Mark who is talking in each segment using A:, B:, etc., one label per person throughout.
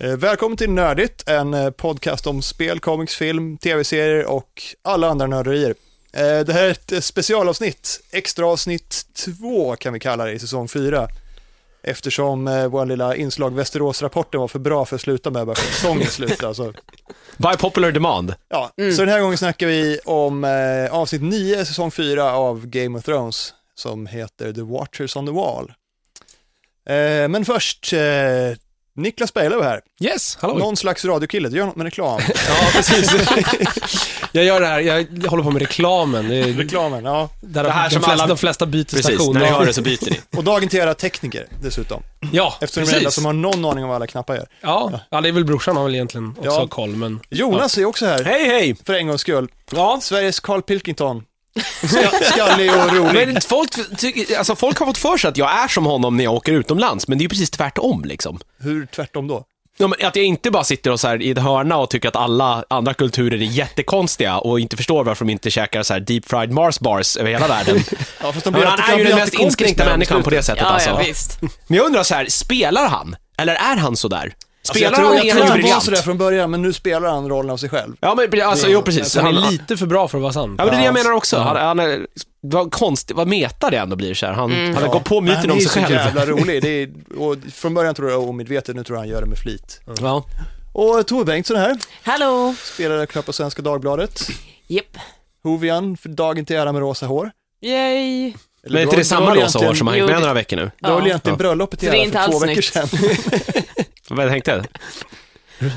A: Eh, Välkommen till Nördigt, en eh, podcast om spel, comics, film, tv-serier och alla andra nörderier. Eh, Det här är ett eh, specialavsnitt, extra avsnitt två kan vi kalla det i säsong fyra. Eftersom eh, vår lilla inslag Västeråsrapporten var för bra för att sluta med bara för att säsongen slutar. Så.
B: By popular demand.
A: Ja, så den här gången snackar vi om eh, avsnitt 9, säsong 4 av Game of Thrones som heter The Watchers on the Wall. Eh, men först, eh, Niklas Berglöf här.
B: Yes, hallå.
A: Någon slags radiokille, du gör något med reklam.
B: Ja, precis. jag gör det här, jag håller på med reklamen. Det, är,
A: Reklamen, ja.
B: där
C: Det här
B: de,
C: som
B: flesta,
C: alla-
B: de flesta byter
C: Precis,
B: station.
C: när ni
B: Ja.
C: hör det så byter ni.
A: Och dagen till era tekniker dessutom.
B: Ja,
A: Eftersom det är den enda
B: precis.
A: som har någon aning om vad alla knappar gör.
B: ja. ja, det är väl brorsan har väl egentligen också
A: Ja.
B: koll, men...
A: Jonas är också här,
B: Hej, hej!
A: för en gångs skull.
B: Ja.
A: Sveriges Carl Pilkington. Ska- Skallig och rolig.
B: Men folk, tycker- alltså folk har fått för sig att jag är som honom när jag åker utomlands, men det är ju precis tvärtom liksom.
A: Hur tvärtom då?
B: Ja, men att jag inte bara sitter och så här i ett hörna och tycker att alla andra kulturer är jättekonstiga och inte förstår varför de inte käkar så här deep fried Mars bars över hela världen.
A: Ja, fast de
B: Men
A: blir
B: han
A: alltid-
B: är
A: de
B: ju
A: blir
B: den
A: alltid
B: mest
A: kompis med
B: inskränkta
A: dem i
B: människan på det
A: slutet.
B: sättet
D: Ja,
B: alltså.
D: ja, visst.
B: Men jag undrar så här, spelar han? Eller är han så där? Spelar
A: Alltså, jag tror,
B: han
A: jag tror
B: enligt
A: han var
B: briljant?
A: sådär från början, men nu spelar han rollen av sig själv.
B: Ja men alltså, jo precis.
A: Han
B: Han
A: är
B: är
E: Lite för bra för att vara sant.
B: Ja men det är det jag menar också. Han, han är, vad konstigt, vad meta det ändå blir så här. Han,
A: Mm.
B: han går på myten om sig
A: Han är ju så
B: själv.
A: jävla rolig. Det är, och från början tror jag omedvetet, nu tror jag han gör det med flit.
B: Ja.
A: Och Tove Bengtsson här,
D: Hallå!
A: spelade knapp på Svenska Dagbladet.
D: Japp.
A: Hovian, för dagen till ära med rosa hår.
D: Yay!
A: Eller
B: Men är
A: det
B: inte
A: var-
B: det samma
A: det var
B: rosa hår som han hängt
D: Jo,
B: med
D: det-
B: några veckor nu?
A: Det var väl
D: Ja.
A: egentligen bröllopet till
D: Så det är
A: ära
D: inte
A: för två
D: alls
A: veckor sedan.
B: Vad tänkte jag?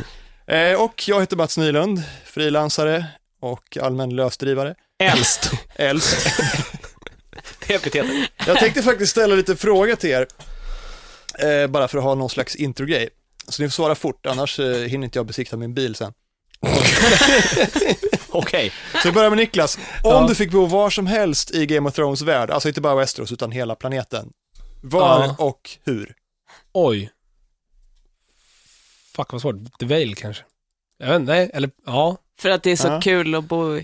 A: Eh, och jag heter Mats Nylund, frilansare och allmän lösdrivare.
B: Äldst.
A: Äldst.
B: Det epitetet.
A: Jag tänkte faktiskt ställa lite fråga till er, eh, bara för att ha någon slags introgrej. Så ni får svara fort, annars eh, hinner inte jag besikta min bil sen.
B: Okej.
A: Så vi börjar med Niklas. Om du fick bo var som helst i Game of Thrones värld, alltså inte bara Westeros utan hela planeten. Var
E: Ja.
A: och hur?
E: Oj. Fuck vad svårt. The Veil kanske? Jag vet inte, nej, eller ja.
D: För att det är så
A: Ja.
D: kul att bo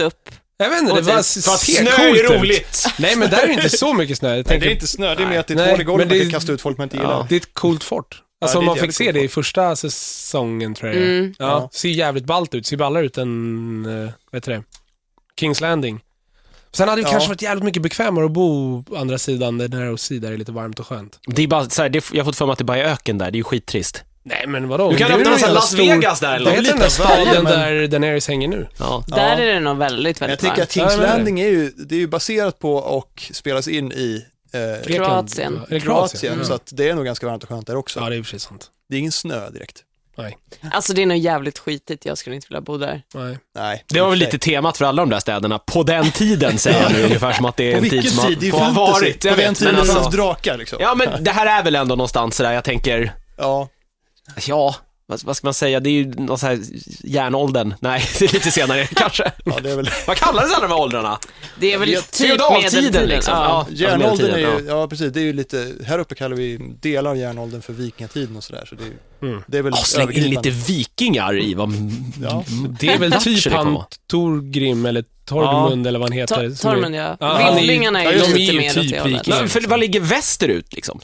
D: upp.
E: Jag vet inte, det
D: Och
E: var
D: typ,
E: ser coolt ut. Nej men där är det inte så mycket snö. Jag tänker,
A: inte snö, det är mer att det
E: Nej,
A: är ett hål i golvet
E: men
A: man
E: det-
A: kan kasta ut folk man inte gillar.
E: det är ett coolt fort. Alltså
A: Ja, det är
E: man
A: ett
E: fick
A: jävligt
E: se
A: coolt
E: det i
A: fort.
E: första säsongen tror jag det är.
D: Mm.
E: ja,
A: Ja.
E: Ser jävligt ballt ut, ser ballare ut än, eh, vad heter det, Kings Landing. Sen hade det
A: Ja.
E: kanske varit jävligt mycket bekvämare att bo på andra sidan, där Narrow där är lite varmt och skönt.
B: Det är bara så här, det, jag har fått för mig att det bara är öken där, det är ju skittrist.
E: Nej men vadå?
B: Du kan
E: Det är
B: öppna
E: väl
B: en sån här
E: jävla
B: Las
E: stor-
B: Vegas där eller
E: Vad
B: något.
E: heter den där
A: Lite av varje,
E: staden
A: men-
E: där Daenerys hänger nu?
B: Ja.
D: Där är det nog väldigt,
A: Men jag
D: väldigt
A: tycker att
D: varmt.
A: Kings
E: Ja, men-
A: Landing är ju, det är ju baserat på och spelas in i eh,
E: Grekland. Är
D: Kroatien.
E: det Kroatien? Mm.
A: Kroatien,
B: Mm.
A: så att det är nog ganska varmt och skönt där också.
E: Ja, det är i och för sig sant.
A: Det är ingen snö direkt.
D: Alltså det är nog jävligt skitigt, jag skulle inte vilja bo där.
E: Nej.
A: Nej.
B: Det var väl
A: i och för
B: lite temat för alla de där städerna, på den tiden säger jag nu ungefär som att det är
A: sig. På vilken
B: en tid som
A: tid? Det är ju
B: har, har
A: fantasy.
B: varit. Jag
A: På den
B: vet,
A: tiden
B: men
A: det
B: alltså,
A: fanns drakar liksom.
B: ja men det här är väl ändå någonstans sådär, jag tänker,
A: Ja.
B: ja, vad, vad ska man säga, det är ju någon så här järnåldern, nej det är lite senare kanske.
A: ja, det är väl...
B: Vad kallades alla de här åldrarna?
D: Det är väl
A: vet-
D: typ
B: feodaltiden,
D: medeltiden.
B: liksom.
D: Ja.
A: Järnåldern är
B: medeltiden,
A: ju, Alltså, ja precis, det är ju lite, här uppe kallar vi delar av järnåldern för vikingatiden och sådär, så det är, det är väl
B: Oh, släng in
A: övergripande.
B: lite vikingar i, vad...
A: Ja.
E: Det är väl
B: Thatcher
E: typ
B: det kommer
E: han
B: vara.
E: Torgrim eller Torgmund eller vad han heter.
D: Tor-
E: som är-
D: Tormund ja.
E: Ja, han är ju-
D: Vindlingarna är ju
A: ja, just det.
E: De
D: lite
E: är ju
D: mer åt
E: typ
D: det hållet.
E: viking.
B: Nej, för vad ligger västerut liksom?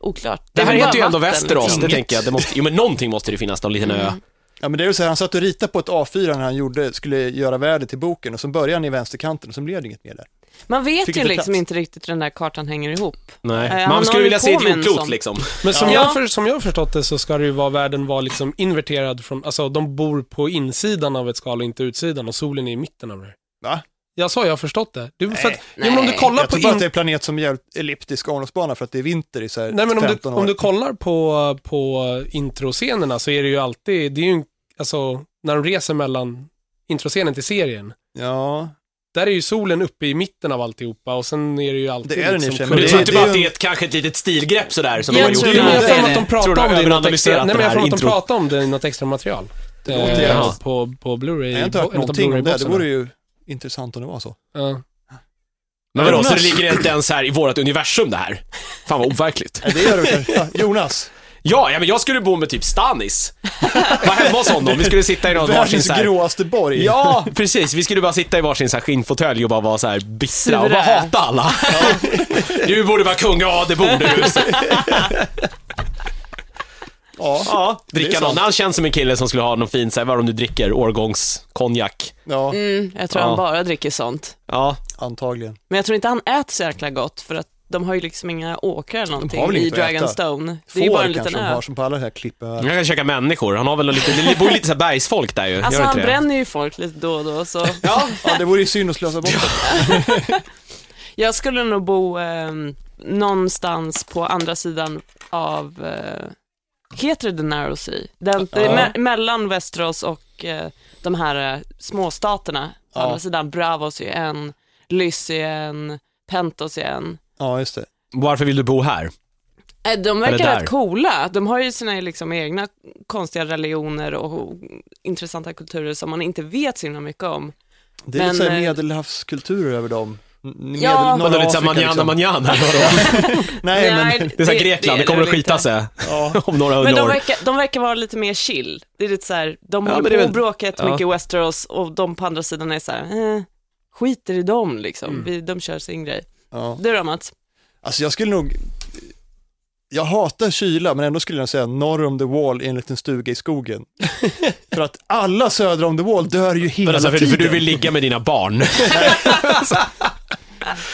D: Oklart.
B: Det här
D: är väl
B: heter ju
D: bara
B: ändå
D: vatten,
B: Västerås,
D: liksom. Mm.
B: det tänker jag. Det måste, jo men någonting måste det finnas, någon liten ö.
A: Ja men det är ju så här, han satt och ritade på ett A4 när han gjorde, skulle göra värde till boken och så började han i vänsterkanten och så blev det inget mer där.
D: Man vet
A: Fick
D: ju
A: inte
D: liksom
A: plats.
D: inte riktigt hur den där kartan hänger ihop.
B: Nej.
D: Eh, han
B: Man
D: har
B: skulle
D: ju
B: vilja se ett
D: påminns
B: jordklot
D: om-
B: liksom.
E: Men som,
D: Ja.
E: jag för, som jag har förstått det så ska det ju vara, världen vara liksom inverterad från, alltså de bor på insidan av ett skal och inte utsidan och solen är i mitten av det.
A: Va?
E: Ja, så har jag förstått det. Du, för att,
D: Nej.
E: jo, men om du
D: Nej.
E: kollar
A: Jag
E: på
A: tror bara att det
E: in,
A: är en planet som är jävligt elliptisk avloppsbana för att det är vinter i så här
E: Nej, men om du,
A: 15 år.
E: om du kollar på, på introscenerna så är det ju alltid, det är ju, en- alltså, när de reser mellan introscenen till serien,
A: Ja,
E: där är ju solen uppe i mitten av alltihopa och sen är det ju alltid liksom
A: Det är den i och för sig, men
B: Du
A: det
B: tror
A: är-
B: inte bara att det
A: ju-
B: är ett, kanske ett litet stilgrepp sådär som de
D: Jag
B: har gjort
D: tror
E: Jo,
B: innan.
E: men jag har
D: det är
E: för mig
D: det.
E: att de
B: Tror du
E: pratar
B: de
E: om det i något
B: överanalyserat
E: extra, nej, men
B: den
E: jag
B: här
E: tror att de
B: intro?
E: pratar om det i något extra material.
A: Det låter
E: Eh,
A: jävligt.
E: på, på Blu-ray.
A: jag har inte hört
E: en utav
A: någonting om det, det
E: Blu-ray-boxarna.
A: vore ju intressant om det var så.
E: Ja.
B: Men vadå, så det
A: Jonas.
B: ligger inte ens här i vårt universum det här? Fan vad overkligt.
A: Nej, det gör det ja, Jonas,
B: Ja, ja, men jag skulle bo med typ Stanis. Var hemma hos honom, vi skulle sitta i någon varsin
A: världens
B: såhär...
A: gråaste borg.
B: Ja, precis. Vi skulle bara sitta i varsin så här skinnfåtölj och bara vara så här bittra och bara
D: Sura.
B: hata alla. Du borde vara kung, ja det borde du.
A: Ja,
B: Ja,
A: Det är
B: dricka
A: sant.
B: någon. Han känns som en kille som skulle ha någon fin, så här, vad är det om du dricker, årgångskonjak.
A: ja
D: Mm, jag tror
B: Ja.
D: han bara dricker sånt.
B: Ja,
A: antagligen.
D: Men jag tror inte han äter så jäkla gott för att de har ju liksom inga åkrar eller
A: har
D: någonting
A: väl
D: i
A: inget att äta.
D: Dragonstone. Det är ju bara en
A: Får
D: liten
A: kanske de
D: ö.
A: har som på alla de här klippen.
B: han kan käka människor. Han har väl lite, det bor lite så här bergsfolk där ju. Gör
D: Alltså
B: det
D: han
B: inte det?
D: bränner ju folk lite då och då så
A: Ja. ja, det vore ju synd att slösa bort det.
D: jag skulle nog bo eh, någonstans på andra sidan av, eh, heter det The Narrow Sea? Den,
A: Ja.
D: det är me- mellan Västerås och eh, de här eh, småstaterna på
A: Ja.
D: andra sidan. Bravos är en, Lys är en, Pentos är en.
A: Ja, just det.
B: Varför vill du bo här?
D: Eh, De
B: Eller
D: verkar
B: där.
D: rätt coola. De har ju sina liksom, egna konstiga religioner och, och intressanta kulturer som man inte vet så himla mycket om.
A: Det är
D: Men,
A: lite så här
D: eh,
A: medelhavskulturer över dem. N- Medel,
D: Ja.
A: norra
B: Vadå, lite såhär
A: Afrika,
B: manjana
A: liksom.
B: manjana? Vadå?
A: Nej, men
B: Det är såhär Grekland, det,
D: är
B: kommer att
D: väl
B: skita
D: inte.
B: sig
A: ja.
B: om några
D: Men
B: hundra
D: de
B: år.
D: verkar, de verkar vara lite mer chill. Det är lite så här, de
B: Ja, men
D: håller
B: det är
D: på
B: väl-
D: och bråkar
B: ja.
D: jättemycket i Westeros och de på andra sidan är så här, eh, skiter i dem liksom.
E: Mm.
D: Vi, de kör sin grej.
A: ja.
D: Du då Mats?
A: Alltså jag skulle nog, jag hatar kyla men ändå skulle jag säga norr om the wall i en liten stuga i skogen. För att alla söder om the wall dör ju hela
B: Men alltså, för,
A: tiden.
B: för
D: typ-
B: du vill ligga med dina barn.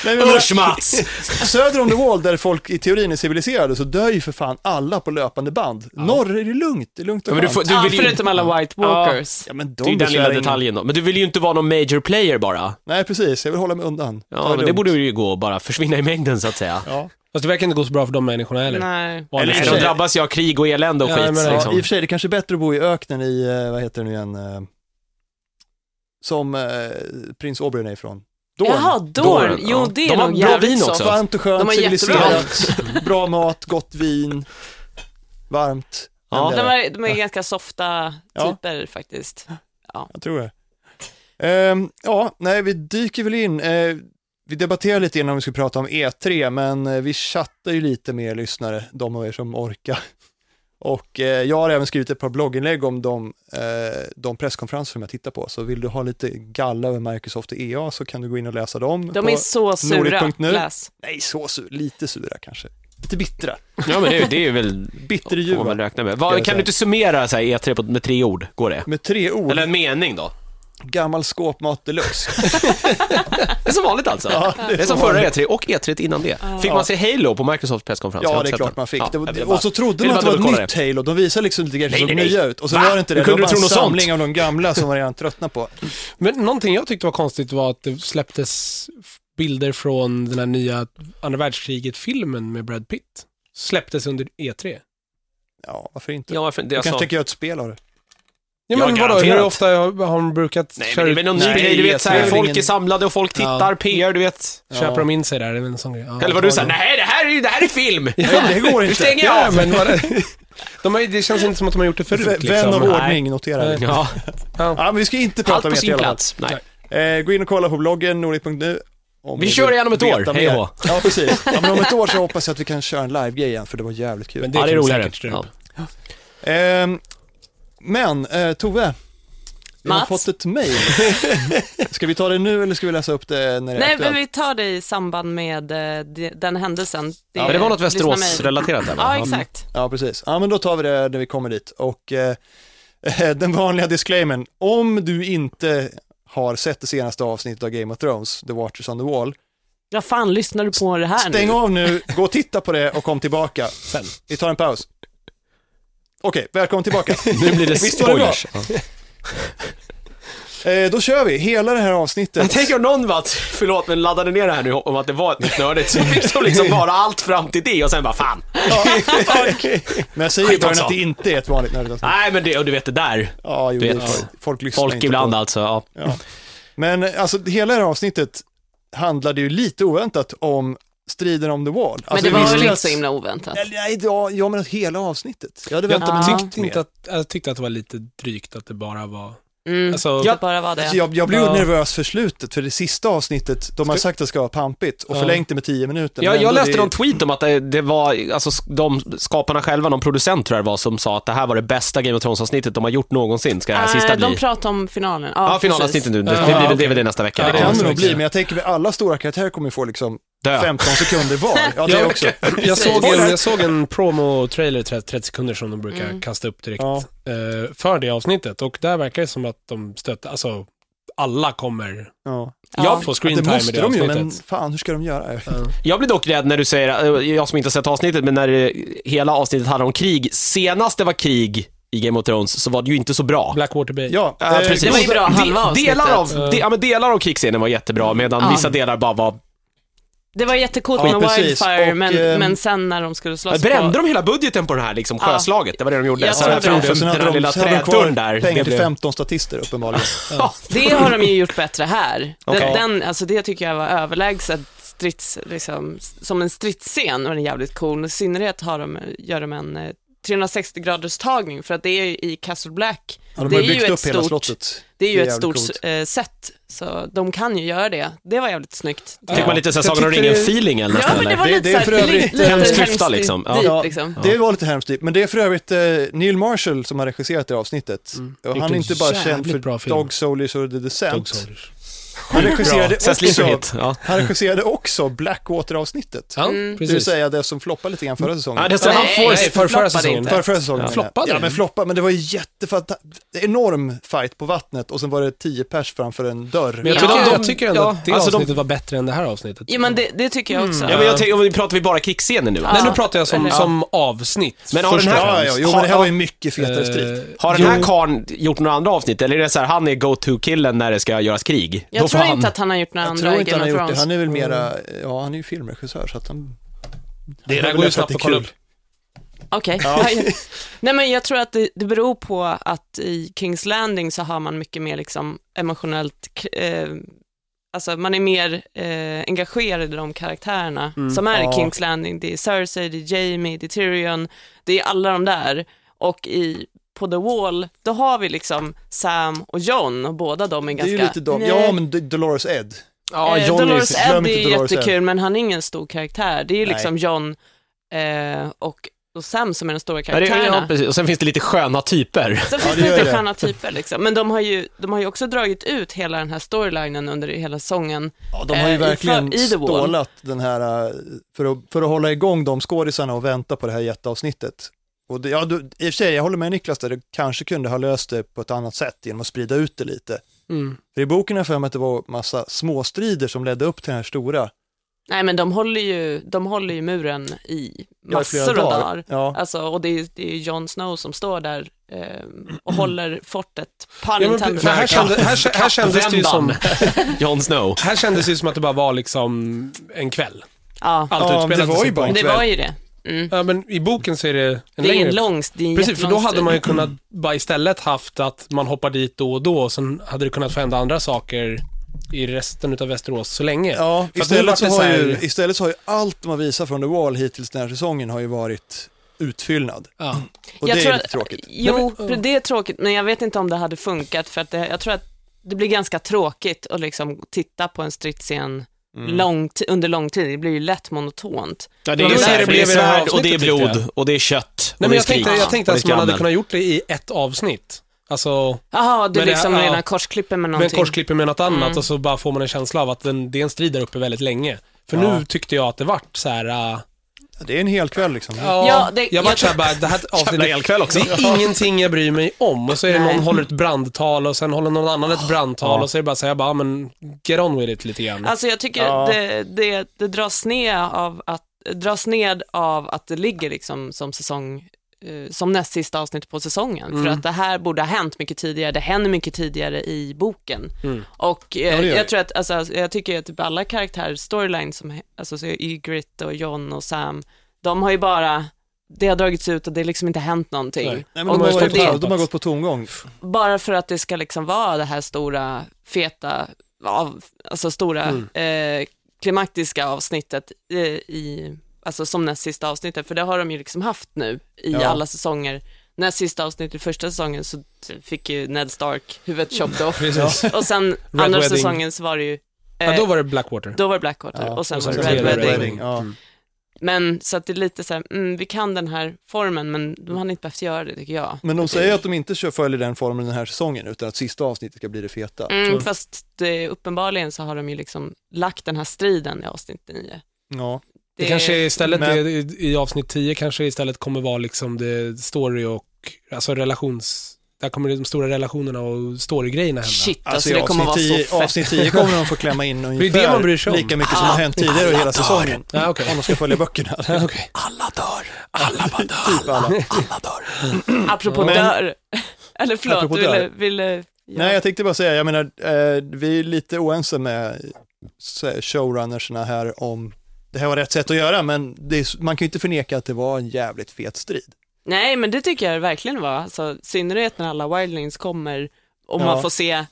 A: Nej, men
B: Usch Mats!
A: Söder om the wall där folk i teorin är civiliserade så dör ju för fan alla på löpande band. Norr är det lugnt, det är lugnt och
B: Ja, men du får-
A: skönt.
B: du
D: ah,
B: vill ju-
D: förutom alla White Walkers.
A: Ja men de
B: Det är ju den
A: besvärar
B: lilla
A: ingen.
B: detaljen då. Men du vill ju inte vara någon major player bara.
A: Nej precis, jag vill hålla mig undan. Ta
B: Ja, men det
A: lugnt.
B: borde ju gå att bara försvinna i mängden så att säga.
A: Ja.
E: Fast det verkar inte gå så bra för de människorna heller.
D: Nej.
A: Eller
B: Nej,
A: i och för
B: de
A: sig-
B: drabbas ju av krig och elände och
E: Ja,
B: skit.
E: men
A: Ja,
B: liksom.
A: I och för sig, det kanske är bättre att bo i öknen i, eh, vad heter det nu igen, eh, som eh, prins Aubrey är ifrån. Dorn.
D: Jaha, Dorn.
B: Dorn, ja.
D: Jo, det
B: De
D: är
B: har
D: nog
B: bra
D: jävligt
B: vin
D: soft.
B: också.
A: Varmt och
D: De
A: skönt,
D: har
A: civiliserat, bra mat, gott vin, varmt.
B: Ja.
A: Den
D: De
A: där,
D: är, de är ganska softa
A: Ja.
D: typer faktiskt.
A: Jag tror det. Ehm, ja, nej, vi dyker väl in. Eh, vi debatterade lite innan vi skulle prata om E3, men eh, vi chattar ju lite med er lyssnare, de av er som orkar. Och eh, jag har även skrivit ett par blogginlägg om de, eh, de presskonferenser som jag tittar på, så vill du ha lite galla över Microsoft och EA så kan du gå in och läsa dem.
D: De
A: på,
D: är så sura.
A: Nordic.nu.
D: Läs.
A: Nej, så sur, lite sura kanske. Lite bittra,
B: Ja, men det, är ju- det är ju väl... Får man
A: bitterljuva.
B: räkna med.
A: Ska
B: Vad,
A: jag
B: kan
A: säga.
B: du inte summera så här, E3 på, med tre ord? Går det?
A: Med tre ord,
B: Eller en mening då?
A: gammal skåpmat deluxe.
B: Det är som vanligt alltså.
A: Ja,
B: det, är som förra E3 och E3 innan det. Fick man se Halo på Microsofts presskonferens? Jag
A: Ja,
B: har
A: det är
B: inte
A: klart
B: sett den.
A: man fick.
B: Ja,
A: det
B: jag
A: var,
B: ville bara-
A: och så trodde
B: ville
A: man att det
B: bara
A: var ett
B: dubbelkolla
A: nytt Halo, de visade liksom lite grejer
B: Nej,
A: som såg
B: nej, nej.
A: nya ut. Och så
B: Va?
A: var det inte det,
B: Hur
A: det
B: kunde
A: var
B: du
A: bara
B: tro
A: en
B: något sånt?
A: samling av de gamla som man redan tröttnat på.
E: Men någonting jag tyckte var konstigt var att det släpptes f- bilder från den här nya andra världskriget-filmen med Brad Pitt. Släpptes under E E3.
A: Ja, varför inte?
B: Ja, varför, det,
A: jag
B: alltså,
A: kan tänka göra ett spel av det.
E: Ja,
B: Ja,
E: men vadå, hur
B: garanterat.
E: ofta har har de brukat
B: nej, men
E: köra,
B: det är väl någon
A: Nej,
B: ny grej, du vet, så här,
A: E3 är
B: folk är
A: ingen-
B: samlade och folk tittar, PR, du vet.
E: E köper
A: Ja.
E: de in sig där? Det är väl en sån grej. Ja.
B: Eller vad du sa, nej det här är ju, det här är film!
A: Nej, det går
B: Nu
A: inte.
B: stänger jag
E: Ja,
B: av!
E: men vad det, de har, ju- det känns inte som att de har gjort det förut.
A: V- Vän
E: liksom.
A: av
B: Nej.
A: ordning noterar vi.
B: Ja,
A: Ja, men vi ska inte
B: allt
A: prata
B: på
A: mer i
B: sin
A: alla fall.
B: plats. Nej.
A: Eh, gå in och kolla på bloggen, nordic.nu. om
B: Vi
A: ni
B: kör
A: vill
B: igen om ett
A: veta
B: år.
A: mer.
B: Hej då.
A: Ja, precis. Ja, men om ett år så hoppas jag att vi kan köra en live-grej igen, för det var jävligt kul.
E: Men
A: Men,
E: det,
B: Ja, det är
E: kan vi
B: roligare.
E: säkert
B: Ja.
E: ströpa.
A: men eh, Tove, vi har
D: Mats?
A: fått ett mejl. Ska vi ta det nu eller ska vi läsa upp det när det är
D: Nej,
A: aktuellt?
D: men vi tar det i samband med eh, de- den händelsen.
A: Ja,
B: Men det var något
D: lyssna med-
B: Västerås-relaterat där va?
D: Ja, exakt.
A: Ja, precis. Ja, men då tar vi det när vi kommer dit. Och eh, den vanliga disclaimern, om du inte har sett det senaste avsnittet av Game of Thrones, The Watchers on the Wall,
D: Vad fan lyssnar du på det här
A: stäng
D: nu?
A: av nu, gå och titta på det och kom tillbaka.
E: Sen.
A: Vi tar en paus. Okej, välkommen tillbaka.
B: Nu blir det
A: Visst var det bra?
B: spoilers. Ja.
A: Eh, då kör vi hela det här
B: Jag
A: avsnittet.
B: tänker om någon bara, förlåt men laddade ner det här nu om att det var ett nytt nördigt, så fick de liksom bara allt fram till det och sen bara fan.
A: Ja. Men jag säger i
B: Skit
A: början
B: också.
A: att det inte är ett vanligt nördigt
B: Nej men det, och du vet det där.
A: Ja, jo,
B: Du
A: det
B: vet,
A: är- folk lyssnar
B: Folk
A: inte
B: ibland
A: på.
B: alltså, ja.
A: Ja. Men eh, alltså hela det här avsnittet handlade ju lite oväntat om striden om The Wall.
D: Men
A: Alltså,
D: det
A: vi
D: var
A: visste
D: väl
A: ju
D: inte
A: att-
D: så himla oväntat?
A: Eller, Nej, ja, jag menar hela avsnittet. Jag hade
E: Jag
A: väntat mig
D: Ja.
A: mycket
E: tyckte,
A: mer.
E: inte att, jag tyckte att det var lite drygt att det bara var...
D: Mm,
E: Alltså,
D: det bara var det.
A: Alltså, jag, jag blev
E: Ja.
A: nervös för slutet, för det sista avsnittet, de har sagt att det ska vara pampigt och
E: Ja.
A: förlängt det med 10 minuter.
B: Jag,
A: men
B: jag
A: ändå,
B: läste
A: det-
B: någon tweet om att det, det var, alltså sk- de skaparna själva, någon producent tror jag det var, som sa att det här var det bästa Game of Thrones-avsnittet de har gjort någonsin, ska det här
D: Nej,
B: sista
D: de
B: bli.
D: pratar om finalen. Ja,
B: Ja, finalavsnittet
D: precis.
B: nu. Det, det
E: Ja,
B: blir väl
E: okej.
B: DVD nästa vecka.
E: Ja,
A: Det
B: eller?
A: kan
E: Ja,
A: det nog
E: verkligen.
A: bli, men jag tänker att alla stora karaktärer kommer ju få liksom
B: dö.
A: 15 sekunder var. Ja, det
E: Ja.
A: också.
E: Jag såg
A: Spoiler.
E: en, jag såg en promo-trailer, 30 30 sekunder, som de brukar
D: Mm.
E: kasta upp direkt,
A: Ja.
E: eh, för det avsnittet. Och där verkar det som att de stöter, alltså, alla kommer
A: Ja.
D: Ja.
E: få
A: Det
E: screen time i
A: måste
E: det
A: de ju,
E: avsnittet.
A: men fan hur ska de göra?
B: Jag blir dock rädd när du säger, eh, jag som inte har sett avsnittet, men när eh, hela avsnittet handlar om krig. Senast det var krig i Game of Thrones så var det ju inte så bra.
E: Blackwater Bay.
A: Ja,
B: Ja,
A: eh,
B: precis.
D: Det var ju bra,
B: De-
D: halva avsnittet. Mm.
B: delar av, de, ja, men delar av krigsscenen var jättebra, medan
D: Ja.
B: vissa delar bara var...
D: Det var jättecoolt
A: Ja,
D: med
A: precis.
D: Wildfire,
A: Och,
D: men,
A: ehm,
D: men sen när de skulle slåss
B: Brände
D: på...
B: de hela budgeten på den här liksom,
D: Ja.
B: sjöslaget? Det var det de gjorde.
D: Jag
B: Så
D: tror
B: här
D: det.
B: framför
A: sen
B: den här
A: hade
B: lilla
A: de, sen hade de kvar
B: trädörren där.
A: pengar till
B: det blev-
A: 15 statister uppenbarligen.
D: Det har de ju gjort bättre här.
B: Okej.
D: Den, den, alltså det tycker jag var överlägset strids, liksom, som en stridsscen och den är jävligt cool. I synnerhet har de, gör de en eh, 360 graders tagning för att det är ju i Castle Black.
A: Ja, de
D: det
A: har
D: är
A: ju byggt
D: ett
A: upp hela
D: stort-
A: slottet.
D: Det är ju
A: Det är
D: ett
A: jävligt
D: stort
A: coolt.
D: eh, set, så de kan ju göra det. Det var jävligt snyggt.
E: Ja.
B: Fick man lite såhär
E: Jag
B: Sagan om
E: tyckte-
B: ringen-feelingen
D: Ja,
B: nästan?
D: men det
B: eller?
D: var
A: Det-
D: lite
A: det är för
D: såhär,
A: övrigt
D: li- lite
B: hemskt
D: hemskt
B: klyfta, liksom. Ja.
D: dit,
A: Ja,
D: liksom.
A: Det var lite hemskt typ. men det är för övrigt eh, Neil Marshall som har regisserat det här avsnitt.
D: Mm.
A: Och
E: Gjort
A: han är
E: en
A: inte bara känd
E: jävligt
A: för
E: bra film.
A: Dog Soldiers och The
E: Dog
A: Descent.
E: Soldiers.
D: Mm.
A: Han regisserade
B: Sen slipper
A: också,
B: hit. Ja.
A: han regisserade också Blackwater-avsnittet.
E: Ja,
D: Mm.
A: Det vill
E: precis. Mm.
A: säga det som floppade lite grann förra säsongen.
B: Ja, det är-
D: Nej,
B: han får-
D: nej,
E: för- förra
D: floppade
E: säsongen.
D: inte.
A: Förra, förra säsongen.
E: Ja. Floppade
A: Ja,
E: den?
A: men floppade, men det var ju jättefantastiskt. Enorm fight på vattnet och sen var det 10 pers framför en dörr.
E: Men jag,
D: Ja.
E: tycker-
D: Ja.
E: jag tycker ändå
B: Ja,
E: att det
B: alltså de-
E: avsnittet var bättre än det här avsnittet.
D: Ja, men det, det tycker jag
A: Mm.
D: också.
B: Ja, men jag tänker, om vi pratar vi bara krigsscenen nu?
E: Nej,
B: alltså.
E: nu pratar jag som,
D: Eller-
E: som avsnitt.
B: Men har
E: först
B: den här-
E: och
A: Ja,
E: främst.
A: ja, jo, men det här var ju mycket fetare strid.
E: Eh,
B: Har den här
E: jo,
B: karln gjort några andra avsnitt, eller är det så här, han är go-to-killen när det ska göras krig?
D: Jag
B: Då får
D: tror
B: han...
D: inte att han har gjort några
A: Jag
D: andra
A: tror
D: i
A: inte han
D: Game
A: har
D: of
A: gjort det.
D: Thrones. Mm.
A: Han är väl mera, ja han är ju filmregissör så att han...
E: Det där
A: han
E: går ju
A: vill
E: snabbt
A: det är
E: att kolla upp.
A: kul.
D: Okej. Nej, men jag tror att det, det beror på att i Kings Landing så har man mycket mer liksom emotionellt, k- eh, alltså man är mer eh, engagerad i de karaktärerna som är
A: Mm. Ja.
D: i Kings Landing. Det är Cersei, det är Jamie, det är Tyrion, det är alla de där. Och i på The Wall, då har vi liksom Sam och John och båda de
A: Det är
D: är ganska...
A: ju lite dom. Ja, men D- Dolores Ed.
E: Ja,
D: eh,
E: Johnny
D: Dolores
A: glöm
D: Ed är
A: inte
D: ju
A: Dolores
D: jättekul, men han är ingen stor karaktär. Det är ju
A: Nej.
D: liksom John eh, och, och Sam som är de stora
B: Ja, det,
D: eh, karaktärerna.
B: ja, precis. Och sen finns det lite sköna typer.
D: Sen finns
A: det
D: det
A: gör
D: lite
A: det.
D: sköna typer liksom. Men de har, ju, de har ju också dragit ut hela den här storylinen under hela säsongen.
A: Ja, de har ju
D: Eh, i
A: verkligen
D: för- i The Wall.
A: stålat den här, eh, för att, för att hålla igång de skådisarna och vänta på det här jätteavsnittet. Och det, ja, du, I och för sig, jag håller med Niklas där, det kanske kunde ha löst det på ett annat sätt genom att sprida ut det lite.
E: Mm.
A: För i boken har jag för mig att det var massa småstrider som ledde upp till den här stora.
D: Nej men de håller ju, de håller ju muren i
A: Ja, i
D: massor
A: flera
D: av
A: dagar.
D: dagar.
A: Ja.
D: Alltså, och det är, det är Jon Snow som står där eh, och håller fortet, pun
E: Ja, men,
D: intended.
E: för här, kände, här, här, kändes det ju som,
B: Jon Snow.
E: här kändes det ju som att det bara var liksom en kväll.
D: Ja,
E: Allt
A: Ja, men det
E: utspelade
A: var
E: sig
A: ju
E: på
A: bara
E: en
A: en
D: det
E: kväll.
D: var ju det. Mm.
E: Ja, men i boken så är det en
D: Det är
E: längre...
D: en lång, det är en
E: Precis, för då
D: jättelång Mm.
E: hade man ju
D: strid.
E: kunnat bara istället haft att man hoppar dit då och då och sen hade det kunnat få hända andra saker i resten utav Västerås så länge.
A: Ja,
E: För att nu var
A: istället så,
E: det
A: har
E: så här-
A: ju, istället så har ju allt de har visat från The Wall hittills den här säsongen har ju varit utfyllnad.
E: Ja.
A: Och
D: Jag
A: det är
D: tror
A: lite
D: att-
A: tråkigt.
E: Nej,
D: Jo,
E: men-
D: för det är tråkigt, men jag vet inte om det hade funkat för att det, jag tror att det blir ganska tråkigt att liksom titta på en stridsscen
E: Mm.
D: lång ti- under lång tid. Det blir ju lätt monotont.
B: Ja,
E: Men då
B: svärd,
E: är det blev i det här
B: och det är
E: avsnittet, tyckte jag.
B: blod och det är kött
E: Nej,
B: och det
E: men
B: är
E: jag tänkte,
B: skrik,
E: jag tänkte
B: och det
E: att
B: är
E: man hade
B: skrammel.
E: kunnat gjort det i ett avsnitt. Alltså,
D: Jaha, du
E: Men det-
D: liksom
E: ja.
D: redan korsklipper med
E: men
D: någonting. Mm.
E: korsklipper med något annat och så bara får man en känsla av att den, det är en strid där uppe väldigt länge. För
A: Ja.
E: nu tyckte jag att det vart så här. äh,
A: Det är en hel kväll liksom.
E: ja,
D: Ja, det-
E: jag vart
D: jag-
E: så här bara, det här
B: Jävla
E: avsnittet,
B: elkväll också.
E: det är ingenting jag bryr mig om. Och så är det
D: Nej.
E: någon håller ett brandtal och sen håller någon annan ett brandtal och så är det bara så här, jag bara, ja, men get on with it lite grann.
D: Alltså jag tycker
A: Ja.
D: det, det, det dras, ned av att, dras ned av att det ligger liksom som säsong eh, som näst sista avsnitt på säsongen.
A: Mm.
D: För att det här borde ha hänt mycket tidigare, det händer mycket tidigare i boken. Och eh,
A: Mm. det gör det.
D: jag tror att, alltså, jag tycker att typ alla karaktärer, storylines som, he- alltså så är Ygritte och John och Sam, de har ju bara, det har dragits ut och det har liksom inte hänt någonting.
E: Nej.
A: Nej, men
D: Och
A: de, har
D: just
A: varit,
D: att det-
A: på- de har gått på tomgång.
D: bara för att det ska liksom vara det här stora, feta, av, alltså stora
E: Mm.
D: eh, klimaktiska avsnittet eh, i, alltså som näst sista avsnittet, för det har de ju liksom haft nu i
A: Ja.
D: alla säsonger. Näst sista avsnittet i första säsongen så fick ju Ned Stark huvudet chopped off
E: Precis.
D: och sen andra
E: Wedding.
D: säsongen så var det ju, eh,
E: Ja, då var det Blackwater.
D: då var det Blackwater
A: Ja,
D: och sen
E: och
D: var
E: sen
D: det Red
E: så var det
D: Wedding.
E: Red Wedding.
A: Ja.
D: Men så att det är lite så här, mm, vi kan den här formen men de hade inte behövt göra det tycker jag.
A: Men de säger att de inte kör följer den formen den här säsongen utan att sista avsnittet ska bli det feta.
D: Mm, fast det, uppenbarligen så har de ju liksom lagt den här striden i avsnitt 9.
A: Ja.
E: Det, kanske istället,
A: men-
E: är- i, i avsnitt 10 kanske istället kommer vara liksom det story och, alltså relations, där kommer de stora relationerna och storygrejerna hända.
D: Shit, alltså,
A: i
D: det kommer vara
A: avsnitt 10
D: så fett.
A: avsnitt 10 kommer de få klämma in ungefär
E: det man bryr sig om.
A: lika mycket som har hänt tidigare i hela säsongen.
E: Ja, okej.
A: Om de ska följa böckerna.
E: Ja, okej.
B: Alla dör. Alla bara dör.
A: Typ alla.
B: Alla dör.
D: Apropå
A: Men-
D: dörr. Eller förlåt,
A: Apropå
D: du ville...
A: dörr.
D: ville ja.
A: Nej, jag tänkte bara säga, jag menar, eh, vi är lite oense med så- showrunnersna här om det här var rätt sätt att göra, men det är, s- man kan ju inte förneka att det var en jävligt fet strid.
D: Nej, men det tycker jag det verkligen var. Alltså, i synnerhet när alla wildlings kommer och man
A: Ja.
D: får se,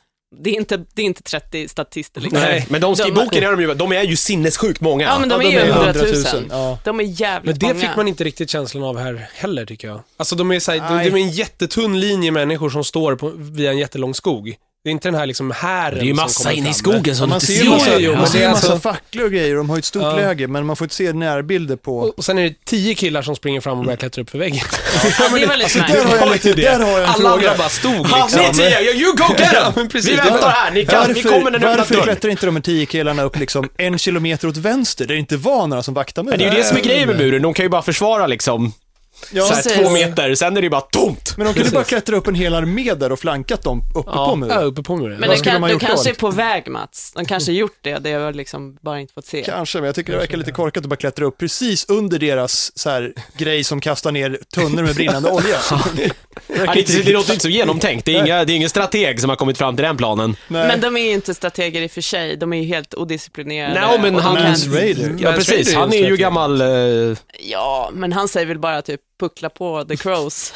D: det är inte, det är inte 30 statister liksom.
B: Nej, men de,
D: De-
B: i boken är de ju, de är ju sinnessjukt många.
D: Ja, men de är ju 100 000.
A: Ja.
D: De är jävligt
E: Men det
D: många.
E: fick man inte riktigt känslan av här heller tycker jag. Alltså de är såhär,
A: Nej.
E: det, det är en jättetunn linje människor som står på, via en jättelång skog. Det är inte den här liksom hären
B: det är ju
E: som
B: massa
E: kommer
B: inne i
E: fram.
B: skogen som
A: Man
B: inte
A: ser ju
E: Jo,
A: massa,
E: jo, jo,
A: man
E: men
A: ser
E: det
A: ju
E: är
A: massa
E: alltså-
A: facklor och grejer, de har ju ett stort
E: Ja.
A: läger, men man får inte se närbilder på...
E: Och, och sen är det tio killar som springer fram och
D: Mm.
E: börjar klättra upp för väggen.
D: Ja, det är väldigt nice.
A: Där har jag,
E: var
A: lite,
E: ju det.
A: där har jag en
E: Alla
A: fråga.
E: andra bara stod
B: Ja,
E: liksom.
B: ni tio, you go get
E: Ja,
B: them!
E: men precis.
B: vi väntar här, ni, kan, ni kommer när ni öppnar
A: varför
B: dörren.
A: klättrar inte de här tio killarna upp liksom en kilometer åt vänster, där det inte var några som vaktade muren?
B: Men det är ju det som är grejen med muren, de kan ju bara försvara liksom
A: Ja.
B: så här,
D: Precis.
B: två meter, sen är det ju bara tomt.
A: Men de kunde
E: Precis.
A: bara klättra upp en hel armé där och flankat dem uppe
E: Ja,
A: på muren.
E: ja, uppe på muren.
D: Men
A: Vad
D: det,
A: skulle
D: kan,
A: man
D: det
A: gjort då,
D: kanske är
A: liksom?
D: på väg Mats. De kanske har gjort det, det har jag liksom bara inte fått se.
A: Kanske, men jag tycker det verkar lite korkat att bara klättra upp precis under deras så här, grej som kastar ner tunnor med brinnande olja. Det
B: Ja,
A: verkar
B: det,
A: inte
B: det, det
A: riktigt-
B: låter inte så genomtänkt, det är, inga, det är ingen strateg som har kommit fram till den planen.
A: Nej.
D: Men de är ju inte strateger i och för sig, de är ju helt odisciplinerade.
B: Nej, men
D: och de
B: han-
D: kan-
A: Mans Raider.
B: Ja,
E: Men
B: precis,
E: Sweden är
B: han är
E: ju
B: ju
E: strateg.
B: gammal... Uh,
D: Ja, men han säger väl bara typ puckla på the crows.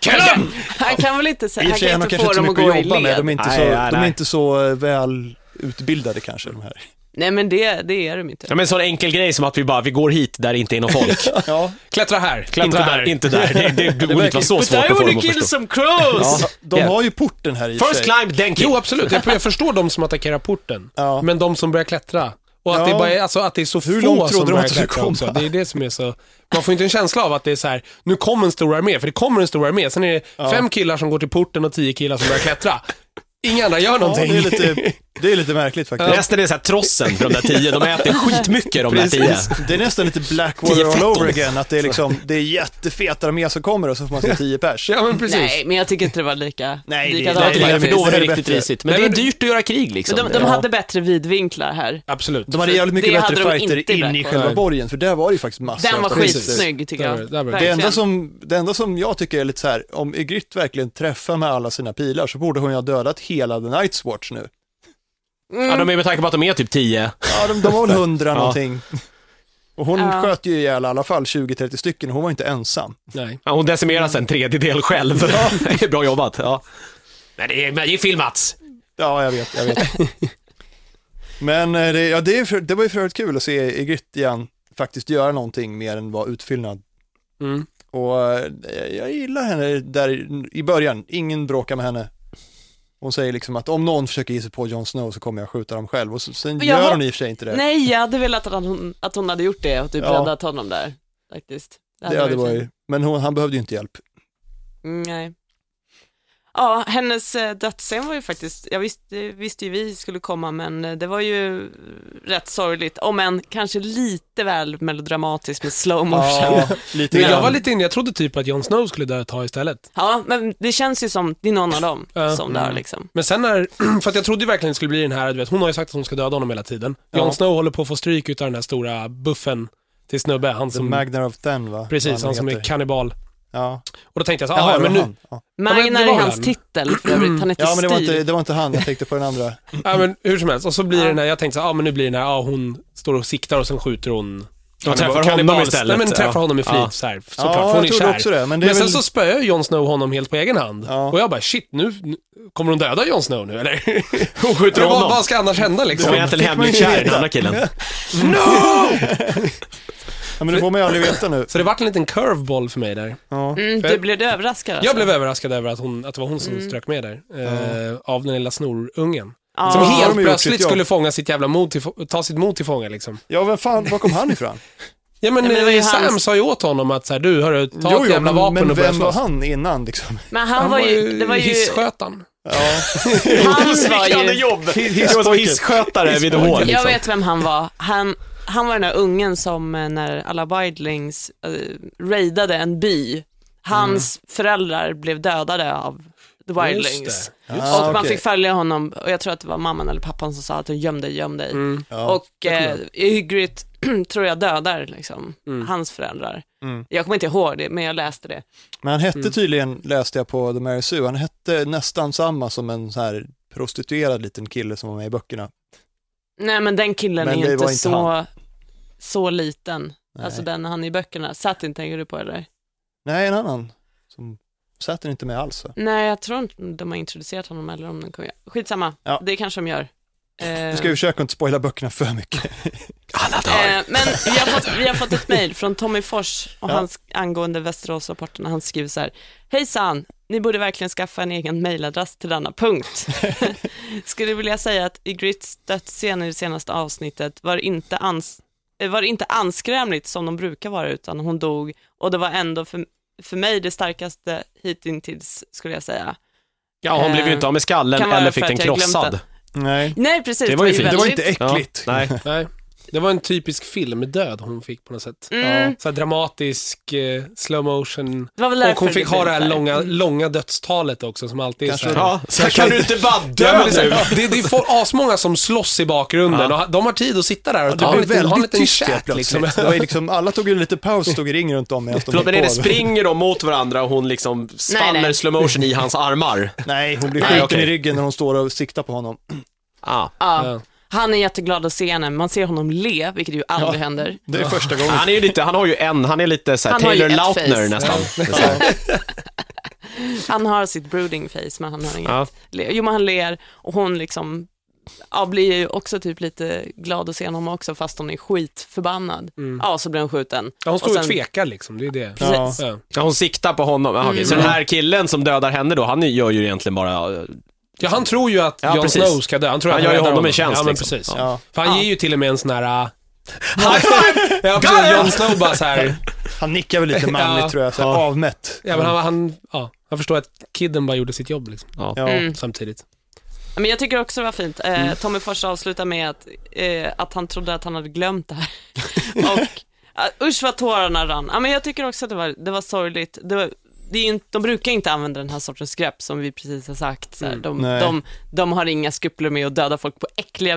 B: Kill him!
D: Han kan väl inte,
A: I
D: säga,
A: och
D: han
A: för sig
D: kan
A: har
D: inte
A: kanske
D: få
A: inte så
D: dem att
A: mycket
D: gå i
A: att jobba med,
D: led.
A: de är inte,
B: Nej,
A: så,
B: nej,
A: de är
B: nej.
A: inte så eh, väl utbildade kanske de här.
D: Nej, men det, det är de inte.
B: Ja, men en sån enkel grej som att vi bara, vi går hit där det inte är någon folk.
A: Ja,
E: Klättra här,
B: Klättra
E: inte
B: här,
E: där.
B: inte där. Det, det, det borde inte vara så
D: But
B: svårt
D: I
B: att få
D: wanna
B: dem att
D: kill
B: förstå.
D: some crows!
A: de har ju porten här i och för sig.
B: First climb, then kill.
E: Jo, absolut. Jag, jag förstår de som attackerar porten.
A: Ja.
E: Men de som börjar klättra. Och att,
A: Ja.
E: det bara är, alltså, att det är så
A: Hur
E: få
A: långt trodde
E: som
A: de
E: börjar
A: att det skulle
E: klättra också.
A: komma?
E: Det är det som är så... Man får inte en känsla av att det är så här, nu kommer en stor armé, för det kommer en stor armé. Sen är det fem killar som går till porten och tio killar som börjar klättra. Inga andra
A: Ja,
E: gör
A: det,
E: någonting.
A: är lite, det är lite märkligt faktiskt.
B: Resten är så här trossen för de där tio, de äter skitmycket de där tio.
A: Precis. Det är nästan lite Blackwater
B: 10
A: all
B: fetton.
A: over again, att det är liksom, det är jättefeta armé som kommer och så får man se 10 pers.
E: Ja, men precis.
D: Nej, men jag tycker inte det var lika
A: Nej, det-
D: likadant.
B: Nej, det var- för då var det
A: Det är
B: riktigt
A: bättre.
B: risigt. Men det
E: Nej,
B: är
E: men-
B: dyrt att göra krig
D: Men
B: liksom.
D: de, de hade bättre vidvinklar här.
E: Absolut.
A: De hade jävligt mycket
D: Det
A: bättre
D: hade de
A: fighter
D: inte
A: in i
D: Blackwater.
A: själva
E: Nej.
A: borgen, för där var det ju faktiskt massor
D: Den var
A: av fighter.
D: skitsnygg tycker
E: Där
D: jag.
E: var det, där var det.
A: Det enda,
D: Verkligen.
A: som, det enda som jag tycker är lite så här, om Ygritte verkligen träffar med alla sina pilar så borde hon ju ha dödat hela The Night's Watch nu.
D: Mm.
B: Ja, de är med tanke på att de är typ tio.
A: Ja, de, de var väl hundra någonting. Och hon
D: Ja.
A: sköt ju ihjäl i alla fall 20-30 stycken, hon var inte ensam.
E: Nej.
B: Ja, hon decimerar sig en tredjedel själv. Det är Bra jobbat. Ja. Men det är, men det är film Mats.
A: Ja, jag vet, jag vet. Men eh, det, ja, det, är för, det var ju för övrigt kul att se Ygritte igen faktiskt göra någonting mer än vara utfyllnad.
E: Mm.
A: Och eh, jag gillar henne där i- i början, ingen bråkar med henne. Hon säger liksom att om någon försöker ge sig på Jon Snow så kommer jag skjuta dem själv och så- sen
D: Jag
A: gör
D: har-
A: hon i och för sig inte det.
D: Nej, jag hade velat att hon, att hon hade gjort det och typ
A: Ja.
D: räddat honom där. Faktiskt.
A: det hade
D: varit
A: varit, men hon, han behövde ju inte hjälp.
D: Mm, Nej. Ja, hennes eh, dödsscen var ju faktiskt, jag visste, visste ju vi skulle komma men eh, det var ju eh, rätt sorgligt, om än kanske lite väl melodramatiskt med slow motion. Ja.
A: Ja, lite
E: Men jag
A: grann.
E: var lite inne, jag trodde typ att Jon Snow skulle dö ett tag istället.
D: men det känns ju som, det är någon av dem
E: Ja.
D: som dör liksom.
E: Men sen när, för att jag trodde ju verkligen det skulle bli den här, du vet, hon har ju sagt att hon ska döda honom hela tiden.
A: Ja.
E: Jon Snow håller på att få stryk utav den här stora buffen till snubbe, han
A: The
E: som
A: Magnar of Ten va? Vad
E: Precis, han som är
A: heter.
E: kannibal.
A: Ja,
E: Och då tänkte jag så,
A: Jaha,
E: ah, ja,
A: det var
E: men nu,
A: han. Ja.
E: men det
D: Magnar
E: var
D: är
E: väl
D: hans
E: han.
D: titel för övrigt, han heter
A: ja, men det var,
D: Styr.
A: inte, det var inte han, jag tänkte på den andra.
E: ja, men hur som helst. Och så blir
D: Ja.
E: det den här, jag tänkte så, ah, men nu blir det den här, ah, hon står och siktar och sen skjuter hon.
B: De träffar
E: Kannibal-
B: honom
E: kannibal-
B: istället.
E: Nej, men träffar
B: Ja.
E: honom i flit
B: Ja.
E: så här, såklart, för
A: Ja,
E: hon
A: jag
E: är
A: trodde
E: kär.
A: också det. Men, det är
E: Men sen
A: väl...
E: så spöar Jon Snow honom helt på egen hand.
A: Ja.
E: Och jag bara, shit, nu, nu kommer hon döda Jon Snow nu eller?
B: Hon skjuter
E: Vad,
B: honom.
E: vad ska annars hända liksom?
B: Som är till
A: fick man ju
B: hemlig kär, den
A: veta.
B: andra killen.
A: Ja, men det får man ju aldrig veta nu.
E: Så det vart en liten curveball för mig där.
A: Ja.
D: Mm, du blev överraskad alltså.
E: Jag blev överraskad över att, hon, att det var hon som
D: Mm.
E: strök med där. Eh, Av den lilla snorungen.
D: Ja.
E: Som
A: Ja, de har
E: helt
A: gjort sitt
E: plötsligt
A: jobb.
E: skulle fånga sitt jävla mod till, få- ta sitt mod till fånga liksom.
A: Ja, vem fan, var kom han ifrån?
E: Ja men,
D: Ja, men det var ju
E: eh, Sam
D: hans-
E: sa ju åt honom att så här, du hörru, ta ett jävla
A: men,
E: vapen
A: men
E: och börja
A: vem var
E: slåss.
A: han innan liksom?
D: Men han, var ju, det var ju,
E: hisskötaren.
A: Ja,
D: hans var
B: Sviktande
D: ju,
B: jobb.
A: Hiss-
B: Det var som
A: hisspojke.
B: hissskötare vid hål.
D: jag
B: Liksom.
D: vet vem han var, han, han var den där ungen som eh, när alla Wildlings eh, raidade en by, hans
A: Mm.
D: föräldrar blev dödade av the Wildlings.
E: Just
D: Och man
A: Ah, okej.
D: fick följa honom, och jag tror att det var mamman eller pappan som sa att göm dig, göm dig.
E: det. Mm.
A: Ja.
D: Och eh, Ygritte tror jag dödar liksom, hans föräldrar.
A: Mm.
D: Jag kommer inte ihåg det, men jag läste det.
A: Men han hette tydligen, läste jag på The Mary Sue, han hette nästan samma som en så här prostituerad liten kille som var med i böckerna.
D: Nej men den killen
A: Men
D: är
A: det
D: inte,
A: var inte
D: så, så liten.
A: Nej,
D: Alltså den han i böckerna. Satin tänker du på eller?
A: Nej en annan. Som Saturn är inte med alls. va?
D: Nej jag tror inte de har introducerat honom eller om den kommer göra. Skitsamma,
A: Ja.
D: det kanske de gör. Eh,
A: Nu ska vi försöka inte spoila böckerna för mycket.
B: Alla
D: eh, men vi har, fått, vi har fått ett mejl från Tommy Fors och
A: Ja.
D: han sk- angående Västeråsrapporten. Han skriver så här, hejsan, ni borde verkligen skaffa en egen mejladress till denna punkt. Skulle vilja säga att i Grits dödsscen i det senaste avsnittet var inte, ans- eh, var inte anskrämligt som de brukar vara utan hon dog och det var ändå för, för mig det starkaste hittills skulle jag säga.
B: Ja, hon blev ju inte av med
D: Eh, Kan
B: skallen
D: vara
B: eller
D: för
B: fick den
D: att jag glömt
B: krossad.
D: den.
A: Nej,
D: Nej precis,
B: Det var ju fint.
A: det var
D: väldigt-
A: inte äckligt.
B: Ja, nej.
E: Nej. Det var en typisk filmdöd hon fick på något sätt.
D: Mm,
E: Så här dramatisk, eh, slow motion.
D: det var väl
E: Och hon fick ha det här
D: blev så
E: långa, långa dödstalet också som alltid är
A: Kanske
E: så här.
B: Ja, så här kan du inte bara
E: Ja, men
B: dö
E: det, är så
B: nu.
E: här, det, det får asmånga som slåss i bakgrunden och de har tid att sitta där och
A: Det
E: ta en
A: blev
E: liten, ha en
A: väldigt
E: liten
A: tyst helt
E: chat
A: plötsligt.
E: liksom.
A: Det var ju liksom, alla tog ju lite paus, stod i ring runt om medan de
B: Förlåt, men är
A: höll
B: det
A: på.
B: springer de mot varandra och hon liksom faller
D: nej.
B: slow motion i hans armar?
A: Nej, hon blir
B: Nej,
A: skjuten
B: okej.
A: i ryggen när hon står och siktar på honom.
B: Ah.
D: Ja.
E: Ja.
D: Han är jätteglad att se henne, man ser honom le, vilket ju aldrig
A: Ja.
D: händer.
A: Det är första gången.
B: Han är ju lite, han har ju en, han är lite såhär
D: Han har ju
B: Taylor
D: ett
B: Lautner
D: face.
B: nästan.
D: Han har sitt brooding face, men han har inget
B: Ja.
D: le. Jo, men han ler och hon liksom, ja, blir ju också typ lite glad att se honom också, fast hon är skitförbannad. Ja, så blir hon skjuten.
E: Mm. Ja, hon står
D: Och
E: och,
D: sen-
E: tvekar liksom, det är det.
A: Ja.
D: Precis.
E: Ja.
B: Ja, hon siktar på honom. Ah, okej. Så
D: Mm.
B: den här killen som dödar henne då, han gör ju egentligen bara...
E: Ja, han tror ju att
B: Ja,
E: Jon
B: precis.
E: Snow ska dö. Han tror
B: Han
E: att
B: gör ju
E: räddar
B: honom en tjänst,
E: Ja, men
B: liksom.
E: precis.
A: Ja.
E: För han
D: Ja.
E: ger ju till och med en sån här... äh,
B: High five!
E: Ja, precis. Jon Snow bara så här...
A: Han nickar väl lite manligt
E: Ja.
A: tror jag, så här, avmätt.
E: Ja, men han, han, ja, han förstår att kidden bara gjorde sitt jobb liksom,
B: Ja.
A: Ja.
D: Mm.
E: samtidigt.
D: Men jag tycker också det var fint. Eh,
B: Mm.
D: Tommy Fors avslutar med att, eh, att han trodde att han hade glömt det här. och uh, usch vad tårarna rann. Ja, men jag tycker också att det var, det var sorgligt. Det var, det är ju inte, de brukar inte använda den här sortens grepp som vi precis har sagt. Så här,
B: Mm,
D: de,
A: Nej.
D: de, de har inga skrupler med att döda folk på äckliga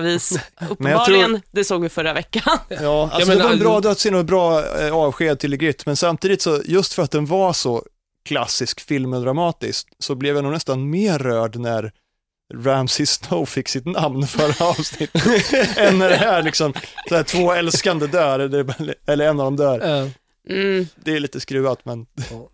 D: vis. Uppenbarligen, det såg vi förra veckan.
A: Ja, alltså
E: men
A: det var en
E: all-
A: bra dödsscen och ett bra eh, avsked till Grit, men samtidigt så, just för att den var så klassisk filmdramatisk, så blev jag nog nästan mer rörd när Ramsey Snow fick sitt namn förra avsnittet, än när det här liksom, så här, två älskande dör, eller- eller en av dem dör.
E: Ja.
D: Mm.
A: Det är lite skruvat, men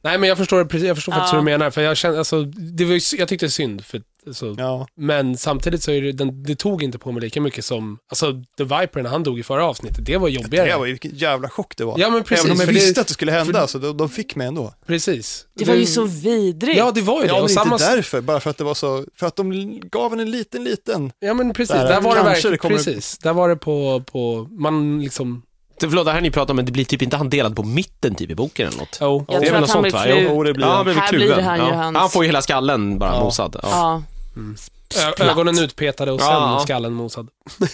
E: Nej, men jag förstår, precis- jag förstår faktiskt
D: Ja.
E: hur du menar, för jag kände, alltså, det var ju, sy- jag tyckte det är synd, för, alltså,
A: ja.
E: men samtidigt så är det, den, det tog inte på mig lika mycket som, alltså, The Viper när han dog i förra avsnittet, det var jobbigare.
A: Det var ju, vilken jävla chock det var.
E: Ja, men precis.
A: Även om jag
E: för
A: visste
E: det,
A: att det skulle hända, så de, de fick mig ändå.
E: Precis.
D: Det var ju så vidrigt.
E: Ja, det var ju det.
A: Ja, men
E: och samma,
A: inte därför, bara för att det var så, för att de gav en liten, liten.
E: ja, men precis.
A: Där,
E: Där, var det
A: kanske
E: verkligen,
A: det kommer-
E: precis. Där var det på, på, man liksom,
B: Förlåt, det här ni pratar om, men det blir typ inte han delad på mitten typ i boken eller något?
E: oh.
D: Jag
B: det
D: tror
B: är väl
D: att
B: något
D: han
B: sånt
D: blir
B: va?
D: kluven.
B: Jo, det blir
D: Ja,
B: han.
D: men Här blir
B: kluven.
D: han ju
B: ja.
D: hans-
B: Han får ju hela skallen bara
A: Ja.
B: mosad. Ja.
D: Ja.
B: Mm.
E: Ö- Ögonen utpetade och sen
B: Ja.
E: skallen mosad.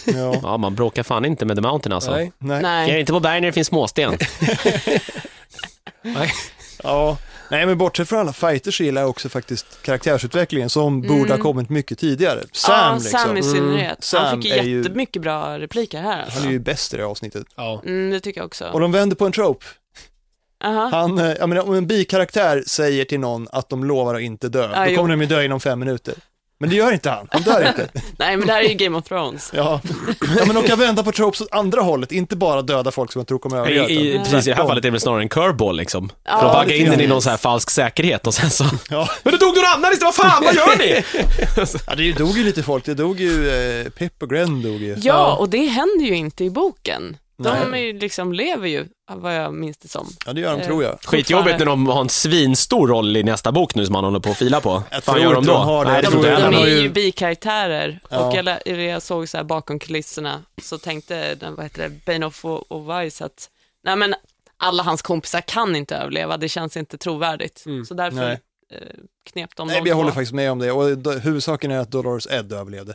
A: Ja,
B: ja, man bråkar fan inte med The Mountain alltså.
E: Nej.
A: nej.
B: Jag är
D: Nej.
B: inte på berg när det finns småsten.
E: Nej.
A: Ja. nej, men bortsett från alla fighters så gillar jag också faktiskt karaktärsutvecklingen som borde ha kommit mycket tidigare. Sam,
D: Mm. ja,
A: liksom.
D: Sam i synnerhet.
A: Sam
D: Han fick ju
A: är ju-
D: jättemycket bra repliker här. Alltså.
A: Han är ju bäst i det här avsnittet.
E: Ja.
D: Mm, det tycker jag också.
A: Och de vänder på en trope.
D: Aha.
A: Han, eh, jag menar, om en bikaraktär säger till någon att de lovar att inte dö,
D: Ja,
A: då
D: jo.
A: kommer de ju dö inom fem minuter. Men det gör inte han, han dör inte.
D: Nej, men det här är ju Game of Thrones.
A: Ja. ja, men de kan vända på tropes åt andra hållet, inte bara döda folk som jag tror kommer
B: I,
A: överleva.
B: i,
A: utan
B: precis, i det här
A: tvärtom.
B: fallet är det väl snarare en curveball liksom. För
D: Ja,
B: att
A: lite
B: bagga in den i
A: grann.
B: någon så här falsk säkerhet och sen så...
A: Ja.
B: Men det dog någon annan istället, vad fan, vad gör ni?
A: Ja, det dog ju lite folk, det dog ju, eh, Pip och Gren dog ju.
D: Ja, och det händer ju inte i boken. De
A: Nej.
D: är ju liksom lever ju, av vad jag minns det som.
A: Ja, det gör de tror
D: Eh,
A: jag.
B: Skitjobbigt när de har en svinstor roll i nästa bok nu som han håller på att fila på.
A: Jag
B: fan
A: tror
B: gör de
A: inte
B: då?
A: de har det.
B: Nej,
A: Jag
B: det
A: tror
B: tror
A: inte
B: inte jag
D: De
A: han har
D: är
B: heller.
A: ju-
D: ju bikaraktärer
A: Ja.
D: och jag, lä- jag såg så här bakom kulisserna så tänkte den, vad heter det, Bainoff och, och Weiss att nej men alla hans kompisar kan inte överleva, det känns inte trovärdigt. Så därför
A: Mm. Nej.
D: eh, knep de
A: Nej,
D: de
A: men jag
D: två.
A: håller faktiskt med om det. Och då, huvudsaken är att Dolores Ed överlevde.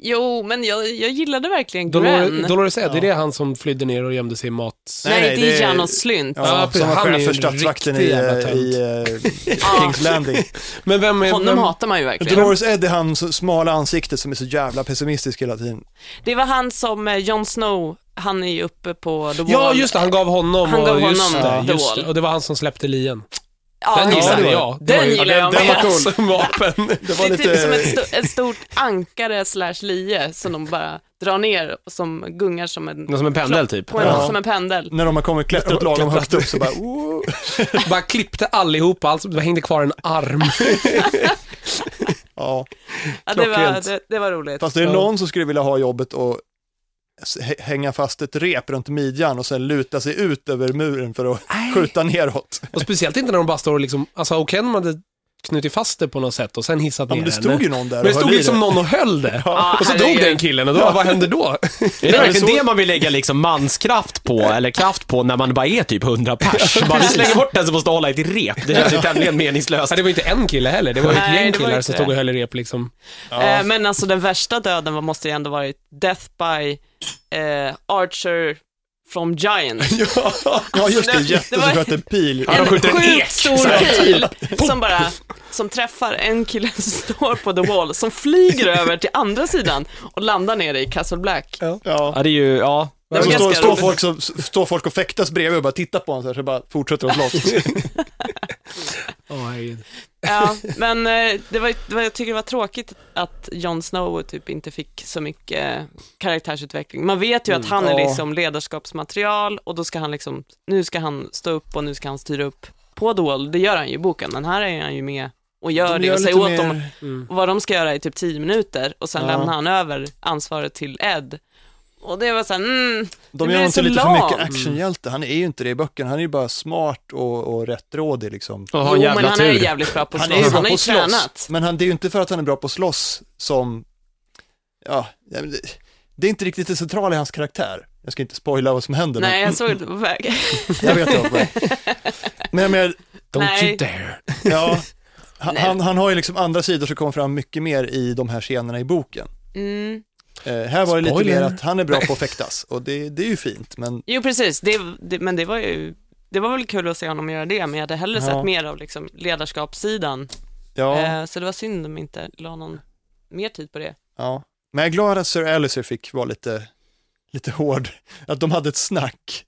D: Jo, men jag, jag gillade verkligen Glenn.
E: Dolores, Dolores Eddy,
A: Ja.
E: det är han som flydde ner och gömde sig i mat...
D: nej,
A: Nej, nej,
D: det
A: det-
D: är Janos Slynt.
A: Ja,
E: Ja, precis.
A: som var
E: Han är
A: chef
E: ju
A: för
E: en
A: stadsvakten i,
E: riktig jävla
A: eh,
E: tönt.
A: i eh, Kings Landing.
E: Men vem är...
D: Honom
E: vem...
D: hatar man ju verkligen.
A: Dolores Eddy, han så smala ansiktet som är så jävla pessimistisk hela tiden.
D: Det var han som eh, Jon Snow, han är ju uppe på The Wall.
E: Ja, just det. Han gav honom...
D: Han gav
E: och, just
D: honom
E: det,
D: The
E: just
D: Wall.
E: det. Och det var han som släppte lien.
D: Ja,
E: Den
D: det var
E: gillade
D: det.
E: jag. Det var
D: Den
E: ju-
D: gillar jag
A: den- den var
D: med.
A: cool.
E: Som vapen.
A: Det
D: Det
A: var
D: är
A: lite...
D: typ som ett, sto- ett stort ankare slash lie som de bara drar ner och som gungar som en,
B: Som en pendel typ.
D: på en,
A: Ja.
D: som en pendel.
A: När de har kommit klättrat lagom högt upp så bara... "Woo."
E: Bara klippte allihopa, alltså det hängde kvar en arm.
A: Ja.
D: Ja, det, var,
E: Klockrent.
D: det, det var roligt.
A: Fast det är
E: Ja.
A: någon som skulle vilja ha jobbet och s- hä- hänga fast ett rep runt midjan och sen luta sig ut över muren för att skjuta neråt.
E: Och speciellt inte när de bara står och liksom, alltså O'Kenman hade knutit fast det på något sätt och sen hissat
A: Ja,
E: ner
A: men det
E: henne.
A: stod ju någon där
E: Men det
A: och höll
E: stod
A: i
E: liksom någon och höll det.
D: Ja,
E: och så dog
D: herregud.
E: den killen och då, vad hände då?
B: Är det verkligen
A: så-
B: det man vill lägga liksom manskraft på, eller kraft på, när man bara är typ 100 pers? Bara vi slänger bort den som måste hålla i ett rep. Det känns ju tämligen meningslöst.
E: Ja, det var inte en kille heller, det var ett
D: Nej,
E: gäng
D: det var
E: killar
D: inte
E: som
D: det.
E: stod och höll i rep liksom.
D: Eh, men alltså den värsta döden var, måste ju ändå varit Death by eh, Archer from Giant.
A: Ja, just det.
D: Nej,
A: Jätten
D: det
A: som
D: var-
A: sköt en pil.
B: Ja, de
D: En
B: skjuter en ek,
D: sjukt
B: så
D: stor
B: här.
D: pil som bara som träffar en kille som står på The Wall, som flyger över till andra sidan och landar nere i Castle Black.
A: Ja.
B: Ja, det är ju, ja.
D: var
A: Så står,
D: ganska
A: står,
D: roligt.
A: folk som, står folk och fäktas bredvid och bara tittar på honom så här, så bara fortsätter de slåss.
E: Oh,
D: Ja, men eh, det var, det var, jag tycker det var tråkigt att Jon Snow typ inte fick så mycket eh, karaktärsutveckling. Man vet ju att han är
A: Mm, ja.
D: liksom ledarskapsmaterial och då ska han liksom, nu ska han stå upp och nu ska han styra upp på The Wall. Det gör han ju i boken, men här är han ju med och gör
A: De
D: det och
A: lite
D: säger åt
A: mer-
D: dem Och vad de ska göra i typ 10 minuter och sen
A: Ja.
D: lämnar han över ansvaret till Ed. Och det var såhär,
A: De
D: mm, Det
A: gör
D: blir
A: honom till
D: så
A: lite för mycket
D: lamt.
A: actionhjälte. Han är ju inte det i böckerna. Han är ju bara smart och, och rättrådig liksom.
B: Och ha en
D: jo men
B: jävla
D: han är ju
B: tur.
D: jävligt bra på att
A: Han
D: slåss,
A: är ju
D: han
A: bra
D: har
A: på
D: ju
A: att slåss.
D: tränat.
A: Men han, det är ju inte för att han är bra på att slåss som, ja, ja, men det, det är inte riktigt det centrala i hans karaktär. Jag ska inte spoila vad som händer,
D: Nej, jag såg det på väg.
A: men jag vet det. Men, men jag menar,
E: Don't
D: Nej.
E: you dare.
A: ja, han,
D: Nej.
A: han, han har ju liksom andra sidor som kommer fram mycket mer i de här scenerna i boken.
D: Mm.
A: Eh, här var det lite
E: Spoiler.
A: mer att han är bra på att fäktas och det, det är ju fint, men
D: Jo precis, det, det, men det var ju, det var väl kul att se honom göra det, men jag hade hellre
A: Ja.
D: sett mer av liksom ledarskapssidan.
A: ja.
D: Eh, så det var synd om inte la någon mer tid på det.
A: Ja, men jag är glad att Sir Alistair fick vara lite, lite hård. Att de hade ett snack.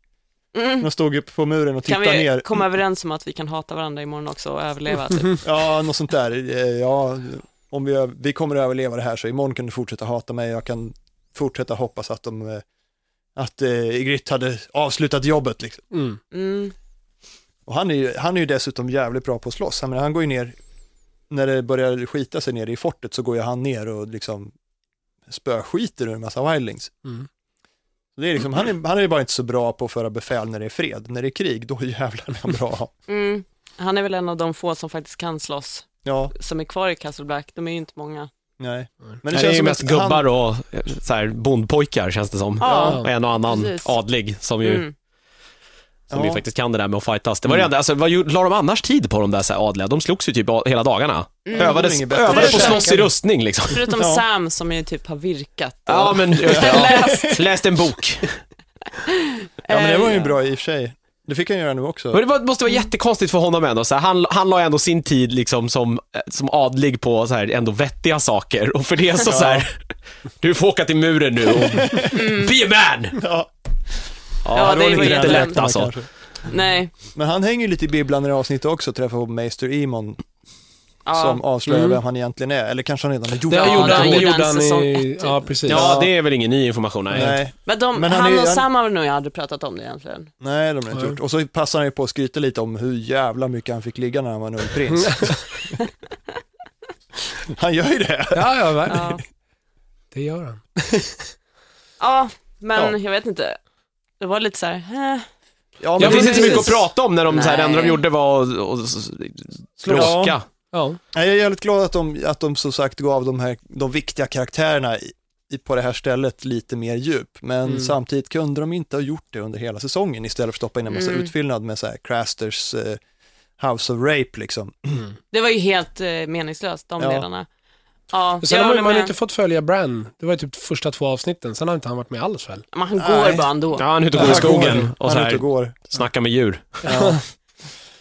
D: Mm.
A: De stod upp på muren och
D: Kan
A: tittade
D: vi
A: ner.
D: komma överens om att vi kan hata varandra imorgon också och överleva? Typ.
A: Ja, något sånt där. Eh, Ja, om vi, ö- vi kommer att överleva det här så imorgon kan du fortsätta hata mig. Jag kan fortsätta hoppas att de eh, att eh, Grytt hade avslutat jobbet. Liksom.
E: Mm.
D: Mm.
A: Och han är, ju, han är ju dessutom jävligt bra på att slåss. Han, menar, han går ju ner, när det börjar skita sig nere i fortet så går ju han ner och liksom spöskiter ur en massa wildlings.
E: Mm.
A: Det är liksom, han, är, han är ju bara inte så bra på att föra befäl när det är fred. När det är krig, då jävlar är han bra.
D: Mm. Han är väl en av de få som faktiskt kan slåss.
A: Ja,
D: som är kvar i Castle Black, de är ju inte många.
A: nej.
B: Men det, är ju mest
A: att
B: gubbar och eh, så här, bondpojkar känns det som.
D: Ja.
B: Och en och annan
D: Precis.
B: adlig som ju,
D: Mm.
B: som
A: Ja.
B: ju faktiskt kan det där med att fightas. Det var det enda, alltså, vad gjorde- la de annars tid på de där så här, adliga? De slogs ju typ a- hela dagarna.
D: Mm.
A: Det är
B: Övades,
A: inget bättre.
B: övade på att
D: Försöker.
B: slåss i rustning liksom.
D: Förutom
A: Ja.
D: Sam som ju typ har virkat. och-
B: Ja, men just det, ja. Läst en bok.
A: Ja, men det var ju
D: Eh,
A: bra i och för sig. Det fick han göra nu också.
B: Men det var, måste vara jättekonstigt för honom ändå. Så här, han, han la ändå sin tid liksom som, eh, som adlig på så här, ändå vettiga saker. Och för det så, så här, du får åka till muren nu och be a man!
A: Ja,
B: Ja,
D: Ja,
B: det,
D: det
B: var
D: var
B: inte
D: jävligt.
B: lätt alltså.
A: kanske.
D: Nej.
A: Men han hänger ju lite i bibblan i det här avsnittet också, träffar på Maester Emon
D: Ja.
A: som avslöjar
E: Mm.
A: vem han egentligen är. Eller kanske han redan har gjort
E: Det
D: Ja,
E: gjorde
D: det
E: han,
D: gjorde
E: det gjorde
D: han
E: han
D: säsong
E: i...
D: ett.
E: Ja, precis.
B: Ja, det är väl ingen ny information. Nej.
A: Nej,
D: Men, de,
A: Men han
D: han,
A: är ju-
D: och Sam har nog aldrig pratat om det egentligen.
A: nej, de har inte
E: Nej.
A: gjort. Och så passar han ju på att skryta lite om hur jävla mycket han fick ligga när han var en ung prins. han gör ju det.
E: Ja, ja, va?
D: Ja,
E: det gör han.
D: ja men
A: Ja.
D: jag vet inte. Det var lite så här, eh.
A: Ja,
B: Ja,
E: men
B: det finns inte så
E: precis.
B: mycket att prata om när de, så här, det enda de
D: Nej.
B: gjorde var att och, s- bråka.
E: Ja.
A: Nej, Jag är jävligt glad att de, att de som sagt gav de här de viktiga karaktärerna i, i- på det här stället lite mer djup, men
E: Mm.
A: samtidigt kunde de inte ha gjort det under hela säsongen istället för att stoppa in en massa
D: Mm.
A: utfyllnad med så här Crasters eh, House of Rape liksom.
D: Det var ju helt eh, meningslöst, de
A: Ja.
D: ledarna. Ja,
E: Och
D: jag
E: sen har man,
D: håller
E: man har
D: med.
E: inte fått följa Bran. Det var ju typ första två avsnitten, sen har inte han varit med alls väl?
D: Men han
A: Nej.
D: går bara ändå.
B: Ja, han är ute och går i skogen och så
A: Han är ute
B: här,
A: och går.
B: snackar med djur.
A: Ja.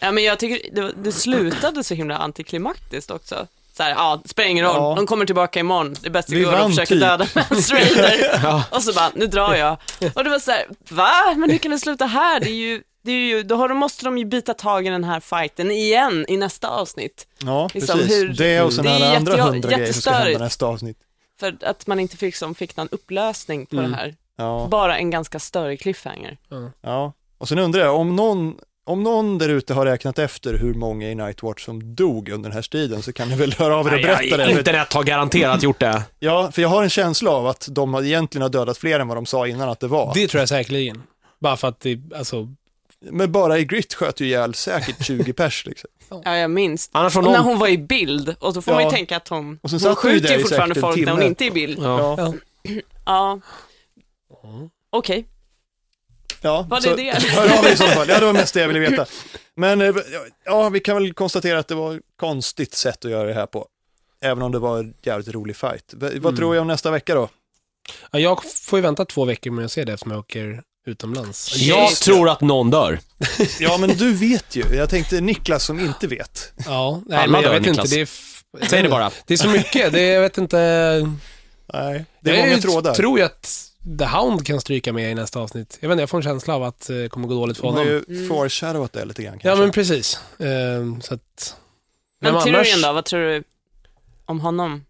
D: Ja, men jag tycker det, det slutade så himla antiklimaktiskt också. Så här, ja, det spelar ingen roll,
A: Ja.
D: de kommer tillbaka imorgon, det bästa
A: Vi
D: går att
A: vann
D: försöka
A: typ.
D: döda Mans Raider. Och så bara, nu drar jag. Och det var så här, va? Men hur kan det sluta här? Det är ju, det är ju, då har, de- måste de ju bita tag i den här fighten igen i nästa avsnitt.
A: Ja,
D: Liksom
A: precis.
D: hur-
A: det och sen
D: Det är
A: alla
D: jätte-
A: andra hundra grejer som ska hända
D: jättestörigt.
A: nästa avsnitt.
D: För att man inte fick, som, fick någon upplösning på
E: Mm.
D: det här.
A: Ja,
D: Bara en ganska större cliffhanger.
A: ja. Och sen undrar jag, om någon, om någon där ute har räknat efter hur många i Nightwatch som dog under den här striden så kan ni väl höra av er och berätta det. För-
B: Internet har garanterat gjort det.
A: Ja, för jag har en känsla av att de har- egentligen har dödat fler än vad de sa innan att det var.
E: Det tror jag säkerligen. Bara för att det, alltså,
A: Men bara i Grit sköt ju ihjäl säkert 20 pers liksom.
D: Ja, jag minns.
B: Annars får
D: Och när
B: någon...
D: hon var i bild, och då får man ju
A: Ja.
D: tänka att hon,
A: Och sen
D: hon
A: satt vi där
D: skjuter
A: i
D: ju fortfarande
A: säkert en
D: folk när hon
A: timme.
D: inte är i bild.
B: Ja.
A: Ja,
D: Ja, okej.
A: ja.
D: Var det
A: så,
D: det?
A: Hör av er i så fall. Ja, det var mest det jag ville veta. Men eh, ja, vi kan väl konstatera att det var ett konstigt sätt att göra det här på. Även om det var en jävligt rolig fight. V- vad tror jag om nästa vecka då?
E: ja, jag får ju vänta två veckor med att se det eftersom jag åker utomlands.
B: Jag tror att någon dör.
A: Ja, men du vet ju. Jag tänkte Niklas som inte vet.
E: Ja, nej,
B: Alla
E: men jag
B: dör,
E: vet
B: Niklas.
E: inte. Det är, f-
B: Säg det bara.
E: Det är så mycket, det, är- jag vet inte.
A: Nej, det är
E: jag
A: många
E: ju-
A: trådar.
E: tror ju att The Hound kan stryka med i nästa avsnitt. Jag vet inte, jag får en känsla av att eh, det kommer gå dåligt för
A: De har
E: honom.
A: ju foreshadowat det lite grann
E: Ja,
A: kanske.
E: men precis. Ehm, så att...
D: Men,
E: annars-
D: Tyrion då, vad tror du om honom?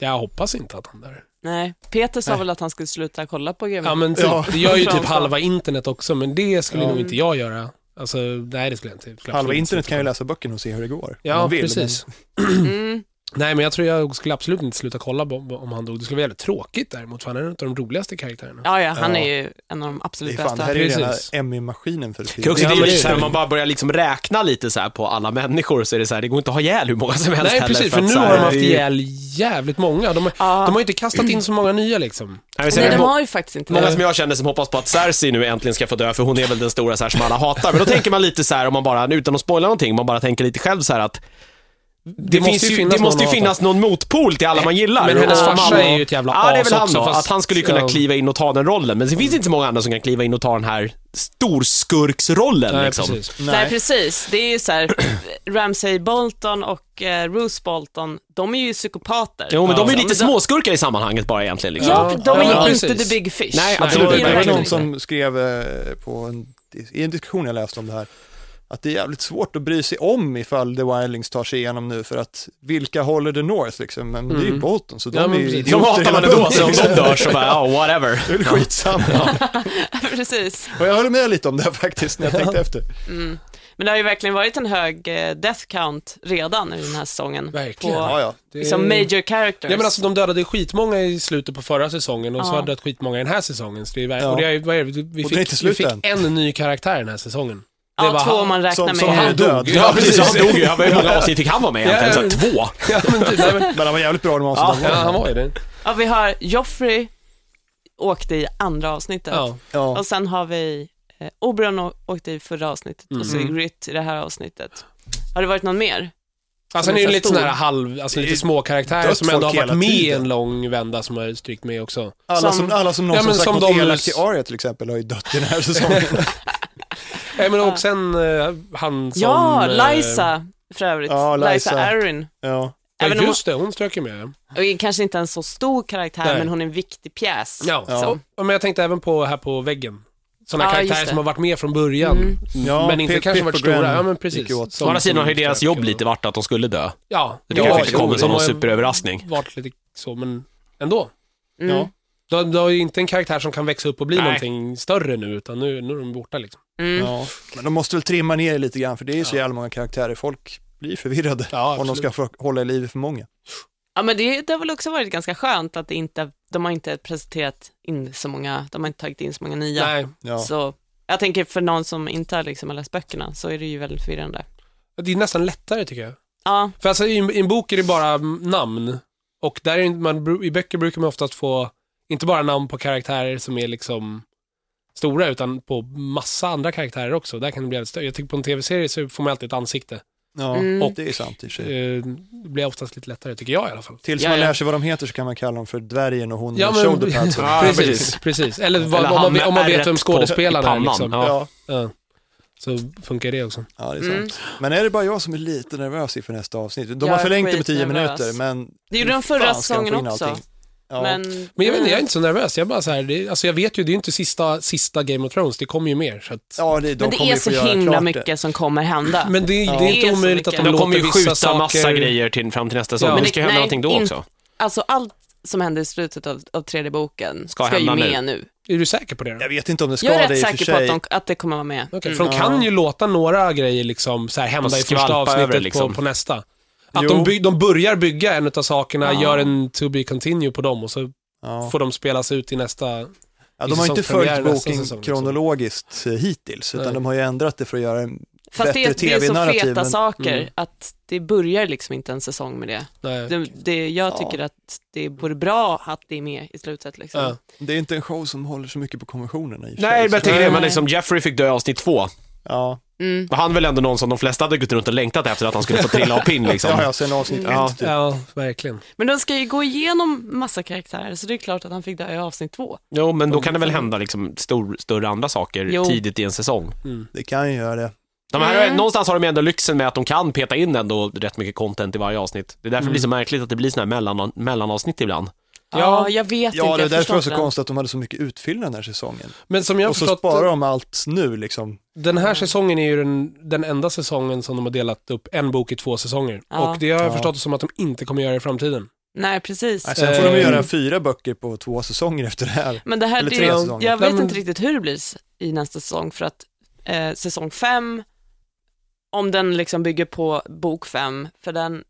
E: Jag hoppas inte att han där.
D: Nej, Peter sa väl att han skulle sluta kolla på GV.
E: Ja, men typ,
A: Ja.
E: det gör ju
D: Framför
E: typ
D: allt.
E: halva internet också, men det skulle
A: Ja.
E: nog inte jag göra. Alltså, nej, det skulle jag inte. skulle
A: Halva
E: absolut
A: internet
E: inte.
A: kan ju läsa böckerna och se hur det går. Om
E: Ja,
A: man vill,
E: precis.
D: mm.
E: Nej, men jag tror jag skulle absolut inte sluta kolla på- om han dog. Det skulle vara jävligt tråkigt däremot, för han är en av de roligaste karaktärerna.
D: ja, ja, han
A: Ja.
D: är ju en av de
A: Det är
D: absolut
A: fan, det
D: bästa.
A: här är ju rena
E: Precis.
A: Emmy-maskinen för
B: Det är också
E: Ja,
B: det
E: men
B: är
E: det
B: så här,
E: är-
B: man bara börjar liksom räkna lite så här på alla människor så är det så här, det går inte att ha ihjäl hur många som helst
E: Nej,
B: heller,
E: precis, för
B: att
E: nu
B: så här,
E: har de haft
B: det är ju-
E: ihjäl jävligt många. De, har-
D: Ja.
E: de har ju inte kastat in så många nya liksom.
B: Nej, men sen
D: Nej,
B: är det
D: de
B: må-
D: har ju faktiskt inte
B: Många
D: det.
B: som jag känner som hoppas på att Cersei nu äntligen ska få dö, för hon är väl den stora så här som alla hatar. Men då tänker man lite så här, om man bara, utan att spoila någonting, man bara tänker lite själv så här att det,
E: måste
B: finns
E: ju
B: ju,
E: finnas
B: det måste ju
E: någon att
B: finnas någon motpol till alla man gillar.
E: Men hennes
B: Och-
E: farsa
B: man-
E: är ju ett jävla
B: Ja, det är
E: as
B: väl han
E: också,
B: då.
E: fast-
B: Att han skulle kunna
E: ja. Mm.
B: kliva in och ta den rollen. Men det finns inte så många andra som kan kliva in och ta den här storskurksrollen
E: Nej,
B: liksom.
E: precis. Mm,
D: Nej. precis. Det är ju så här, Ramsay Bolton och eh, Bruce Bolton, de är ju psykopater.
B: Jo, men de är ju
D: Ja,
B: lite småskurkar i sammanhanget bara egentligen liksom.
D: Ja,
E: Ja,
D: de är ju
E: ja,
D: inte
E: precis.
D: the big fish.
B: Nej,
D: De är
B: absolut
D: ju
B: inte.
A: Det var
D: verkligen
A: någon
D: inte.
A: som skrev eh, på en, i en diskussion jag läste om det här, att det är jävligt svårt att bry sig om ifall The Wildlings tar sig igenom nu för att vilka håller The North liksom, men det är ju Bolton så de
E: Ja,
A: är
E: men
A: ju
E: precis.
B: De
A: idioter
B: hatar man
A: hela
B: ändå,
A: bunten,
B: så om
A: liksom.
B: de dör så bara, ja, whatever.
A: Det är väl skitsamma.
D: precis. Mm.
A: Och jag höll med lite om det här faktiskt när jag tänkte efter.
D: Men det har ju verkligen varit en hög eh, death count redan i den här säsongen.
E: Verkligen.
D: På,
A: Ja, ja.
E: Det-
D: liksom major characters.
E: Ja men alltså de dödade skitmånga i slutet på förra säsongen och så
D: Ja.
E: har de dödat skitmånga i den här säsongen. Så det är, ver-
A: Ja.
E: och det är, ju- vad är det? Vi,
A: Och
E: fick,
A: det är inte
E: vi
A: slut
E: fick
A: än.
E: en ny karaktär den här säsongen. Det
D: ja,
E: var
D: två
E: han
D: om man räknar
A: Som,
D: med.
A: som
E: han
A: är död.
B: Ja, precis. Han dog ju. Han- Hur många avsnitt fick han vara med egentligen? Så här, två?
E: ja, men, typ, nej, men,
A: Men han var jävligt bra i de avsnitten.
E: ja, han var ju det.
D: Ja, vi har Joffrey åkte i andra avsnittet.
E: Ja.
A: Ja.
D: Och sen har vi eh, Oberon å- åkte i förra avsnittet
E: Mm.
D: och Sigrid i det här avsnittet. Har det varit någon mer?
E: Alltså
D: är
E: han är ju
D: så
E: lite
D: stor.
E: sådana här halv, alltså lite
A: Det-
E: små karaktärer
A: dött
E: som ändå har
A: folk hela
E: varit med i
A: tiden.
E: en lång vända som har strykt med också.
A: Alla, som,
D: som-
A: alla som någonsin
E: Ja, men
A: sagt
E: som
A: något
E: de-
A: elakt till Arya till exempel har ju dött i den här säsongen.
E: Nej men och sen eh, han som...
D: ja,
E: eh,
D: Liza för övrigt.
A: Ja,
D: Liza.
A: Lysa.
D: Arryn.
A: Ja.
E: Ja,
D: Även om
E: just det, hon strök ju med.
D: hon, och kanske inte en så stor karaktär,
E: Nej.
D: men hon är en viktig pjäs.
E: Ja,
A: Ja.
E: Och, men jag tänkte även på här på väggen. Sådana
D: Ja, just
E: karaktärer
D: det.
E: som har varit med från början.
D: Mm.
A: Ja,
E: men inte
A: Pip-
E: kanske
A: Pip
E: varit
A: och Gwen
E: stora. Ja, men
A: gick
E: precis.
A: ju åt.
E: Som
B: Å andra sidan har ju
E: strök
B: deras jobb
E: och-
B: lite varit att de skulle dö.
E: Ja.
B: Det
A: Ja,
B: kanske inte
A: jo,
B: kommer som
E: det
B: någon
E: var-
B: superöverraskning.
E: varit lite så, men ändå.
D: Mm.
A: Ja.
E: Du har, du har ju inte en karaktär som kan växa upp och bli
B: Nej.
E: någonting större nu, utan nu, nu är de borta liksom.
D: Mm.
A: Ja, men de måste väl trimma ner det lite grann för det är ju så
E: Ja.
A: jävla många karaktärer. Folk blir förvirrade
E: Ja,
A: om de ska
E: absolut.
A: få hålla i livet för många.
D: Ja, men det, det har väl också varit ganska skönt att det inte, de har inte presenterat in så många, de har inte tagit in så många nya.
E: Nej,
A: Ja.
D: Så jag tänker för någon som inte har liksom har läst böckerna så är det ju väldigt förvirrande.
E: det är nästan lättare tycker jag.
D: Ja,
E: För alltså, i, en- i en bok är det bara mm, namn. Och där är inte- man, bru- i böcker brukar man oftast få, inte bara namn på karaktärer som är liksom stora, utan på massa andra karaktärer också. Där kan det bli väldigt större. Jag tycker på en tv-serie så får man alltid ett ansikte.
A: Ja,
D: Mm.
A: det är ju sant i och för sig.
E: Eh, Det blir oftast lite lättare, tycker jag i alla fall.
A: Tills
D: Ja,
A: man
D: ja.
A: lär sig vad de heter så kan man kalla dem för dvärgen och hon
E: Ja,
A: med
E: men-
A: shoulderpads.
B: Ja, Ah,
E: precis,
B: precis.
E: precis. Eller, vad,
B: Eller
E: om,
B: han
E: man,
B: med
E: om man vet
B: ärret
E: vem
B: på-
E: skådespelarna
B: i
E: är
B: pannan.
E: liksom.
B: Ja.
A: Ja,
E: Ja. Så funkar det också.
A: ja, det är sant.
D: Mm.
A: Men är det bara jag som är lite nervös inför nästa avsnitt? De
D: Jag
A: har
D: är
A: förlängt det med 10
D: skitnervös.
A: minuter, men...
D: Det gjorde de
A: hur
D: förra
A: fan ska de få
D: säsongen
A: in
D: också.
A: allting? Ja.
D: Men,
E: Men jag vet inte, jag är inte så nervös. Jag är bara så här, det, alltså jag vet ju, det är ju inte sista, sista Game of Thrones, det kommer ju mer. Så att,
A: ja, det, de
D: men det
A: kommer
D: är
A: ju få
D: så
A: göra
D: himla
A: klart
D: mycket som kommer hända.
E: Men det,
A: Ja.
E: det är
D: Det är
E: inte
D: så
E: omöjligt att de,
D: mycket. De
B: De
E: låter
B: kommer ju
E: vissa
B: skjuta
E: saker...
B: massa grejer till, fram till nästa säsong.
E: Ja.
B: Det
E: Men
B: ska
D: det-
B: hända
D: nej,
B: någonting då
D: in-
B: också.
D: Alltså allt som händer i slutet av, av tredje boken
B: Ska
D: ska, ju
B: hända nu.
D: med nu.
E: Är du säker på det då?
A: Jag vet inte om det ska
D: Jag är
A: det
D: rätt
A: i och för
D: säker på
A: sig.
D: att, de, att det kommer vara med.
E: Okej,
D: Mm.
E: För de kan
A: Ja.
E: ju låta några grejer liksom så här
B: Och
E: hända i första
B: skvalpa
E: avsnittet
B: över, liksom.
E: på, på nästa. Att
A: Jo.
E: de, by, de börjar bygga en av sakerna,
D: Ja.
E: gör en to be continue på dem och så
A: Ja.
E: får de spelas ut i nästa.
A: Ja,
E: i
A: de har ju inte
E: säsongspremiär
A: följt
E: nästa
A: boken
E: säsong, liksom.
A: kronologiskt eh, hittills, utan
E: Nej.
A: de har ju ändrat det för att göra en...
D: Fast det, är-
A: bättre
D: det är så
A: TV-narrativ,
D: feta
A: men-
D: saker
E: Mm.
D: att det börjar liksom inte en säsong med det.
E: Nej.
D: det, det jag
A: Ja.
D: tycker att det vore bra att det är med i slutet. Liksom.
E: Ja.
A: Det är inte en show som håller så mycket på konventionerna i och för
B: Nej,
A: sig.
B: men jag
A: så-
B: tänker det, men
D: Nej.
B: liksom Jeffrey fick dö i avsnitt två.
A: Ja,
D: Mm.
B: Var han väl ändå någon som de flesta hade gått runt och längtat efter att han skulle få trilla av pinn liksom.
A: ja, ja, sen avsnitt
D: Ja.
A: ett, typ.
E: Mm. Ja, verkligen.
D: Men de ska ju gå igenom massa karaktärer, så det är klart att han fick dö i avsnitt två.
B: Jo, men då kan det väl hända liksom stor, större andra saker
D: Jo.
B: tidigt i en säsong.
A: Det kan ju göra det.
B: De här,
D: Mm.
B: Någonstans har de ju ändå lyxen med att de kan peta in ändå rätt mycket content i varje avsnitt. Det är därför det blir så märkligt att det blir såna här mellan, mellanavsnitt ibland.
D: Ja, jag vet
A: Ja,
D: inte.
A: det är därför
D: jag
A: det
D: förstår
A: var så
D: inte den.
A: konstigt att de hade så mycket utfyllnad den här säsongen.
E: Men som jag har
A: och så
E: förstått,
A: sparar de allt nu liksom.
E: den här säsongen är ju den, den enda säsongen som de har delat upp en bok i två säsonger.
D: Ja.
E: Och det har jag
A: Ja.
E: förstått som att de inte kommer göra i framtiden.
D: Nej, precis.
A: Nej, sen får de
E: Eh,
A: göra fyra böcker på två säsonger efter det här.
D: Men det här,
A: Eller
D: det,
A: tre
D: jag,
A: säsonger.
D: jag
E: Nej,
D: vet
E: men-
D: inte riktigt hur det blir s- i nästa säsong för att eh, säsong fem, om den liksom bygger på bok fem, för den,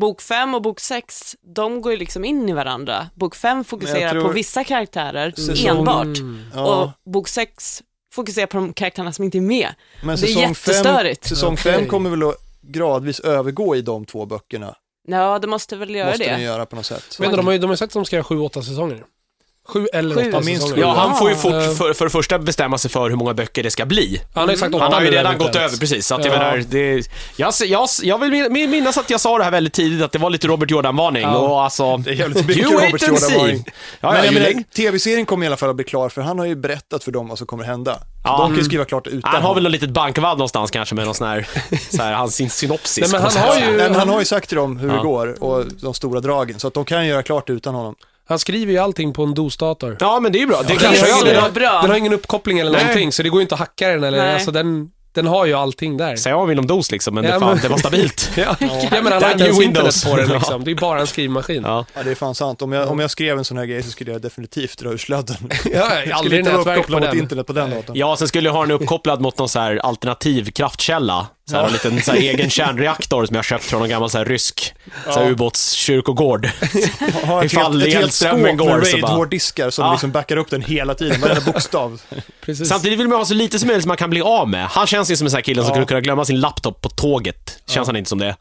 D: bok fem och bok sex, de går ju liksom in i varandra. Bok fem fokuserar
A: tror-
D: på vissa karaktärer
A: Säsong-
D: enbart
A: Ja,
D: och bok sex fokuserar på de karaktärerna som inte är med.
A: men
D: det är
A: säsong fem,
D: jättestörigt.
A: säsong
E: Okej.
A: fem kommer väl att gradvis övergå i de två böckerna.
D: Ja, det måste väl göra
A: måste den
D: det.
A: göra på något sätt.
E: Men de har ju de har ju sagt att de ska göra sju, åtta säsonger. Sju eller
D: Sju.
E: åtta
D: Ja,
A: minst
E: säsonger.
A: sju.
B: Ja, han får ju
D: Ja.
B: fort, för, för det första bestämma sig för hur många böcker det ska bli.
E: Han har ju sagt åtta
B: Han har ju
E: nu,
B: redan
E: eventuellt.
B: gått över, precis. Så att jag,
E: Ja.
B: menar, det, jag, jag, jag vill min- minnas att jag sa det här väldigt tidigt, att det var lite Robert Jordan-varning.
E: Ja.
B: Och alltså,
A: Det är jävligt mycket
B: you
A: Robert
B: wait and see.
A: Jordan-varning.
B: Ja, ja,
A: Men jag
B: ju
A: menar,
B: längre-
A: tv-serien kommer i alla fall att bli klar, för han har ju berättat för dem vad som kommer hända.
B: Ja.
A: de kan ju skriva klart utan
B: han har väl
A: honom.
B: något litet bankvalv någonstans kanske med någon sån här, så här hans sin- synopsis.
E: Nej, men
B: på något
E: han har
B: sätt.
E: ju-
A: Nej, men han har ju sagt till dem hur
B: Ja.
A: det går och de stora dragen, så att de kan göra klart utan honom.
E: Han skriver ju allting på en DOS-dator.
B: Ja, men det är ju bra. Det
E: Ja,
D: Det
B: kanske
E: jag
D: är
B: jag
D: så
E: gör det.
D: bra.
E: Den har ingen uppkoppling eller
B: Nej.
E: någonting, så det går ju inte att hacka den eller,
D: Nej.
E: alltså den, den har ju allting där.
B: Säga vad man vill om DOS liksom, men
E: Ja,
B: det, fan,
E: men-
B: det var stabilt.
E: Ja, ja men han har
B: Damn
E: inte ens
B: you,
E: internet
B: Windows.
E: på den liksom. Det är bara en skrivmaskin.
B: Ja.
A: Ja, det är fan sant. Om jag, om jag skrev en sån här grej så skulle jag definitivt dra ur sladden.
E: Ja,
A: Jag skulle
E: aldrig
A: inte vara
E: nätverk på
A: uppkopplad mot
E: den.
A: internet på den datorn.
B: ja, sen skulle jag ha den uppkopplad mot någon så här alternativ kraftkälla. Så här, En liten så här, egen kärnreaktor som jag köpt från någon gammal så här, rysk så här, ubåtskyrkogård.
A: Har ett
B: Ifall
A: helt, ett helt skåp
B: elströmmen
A: med
B: går så bara-
A: raid-hårddiskar som
B: Ja.
A: liksom backar upp den hela tiden, varenda bokstav.
E: Precis.
B: Samtidigt vill man ha så lite som möjligt som man kan bli av med. Han känns ju som en sån här kille som
A: Ja.
B: skulle kunna glömma sin laptop på tåget. Känns han inte som det?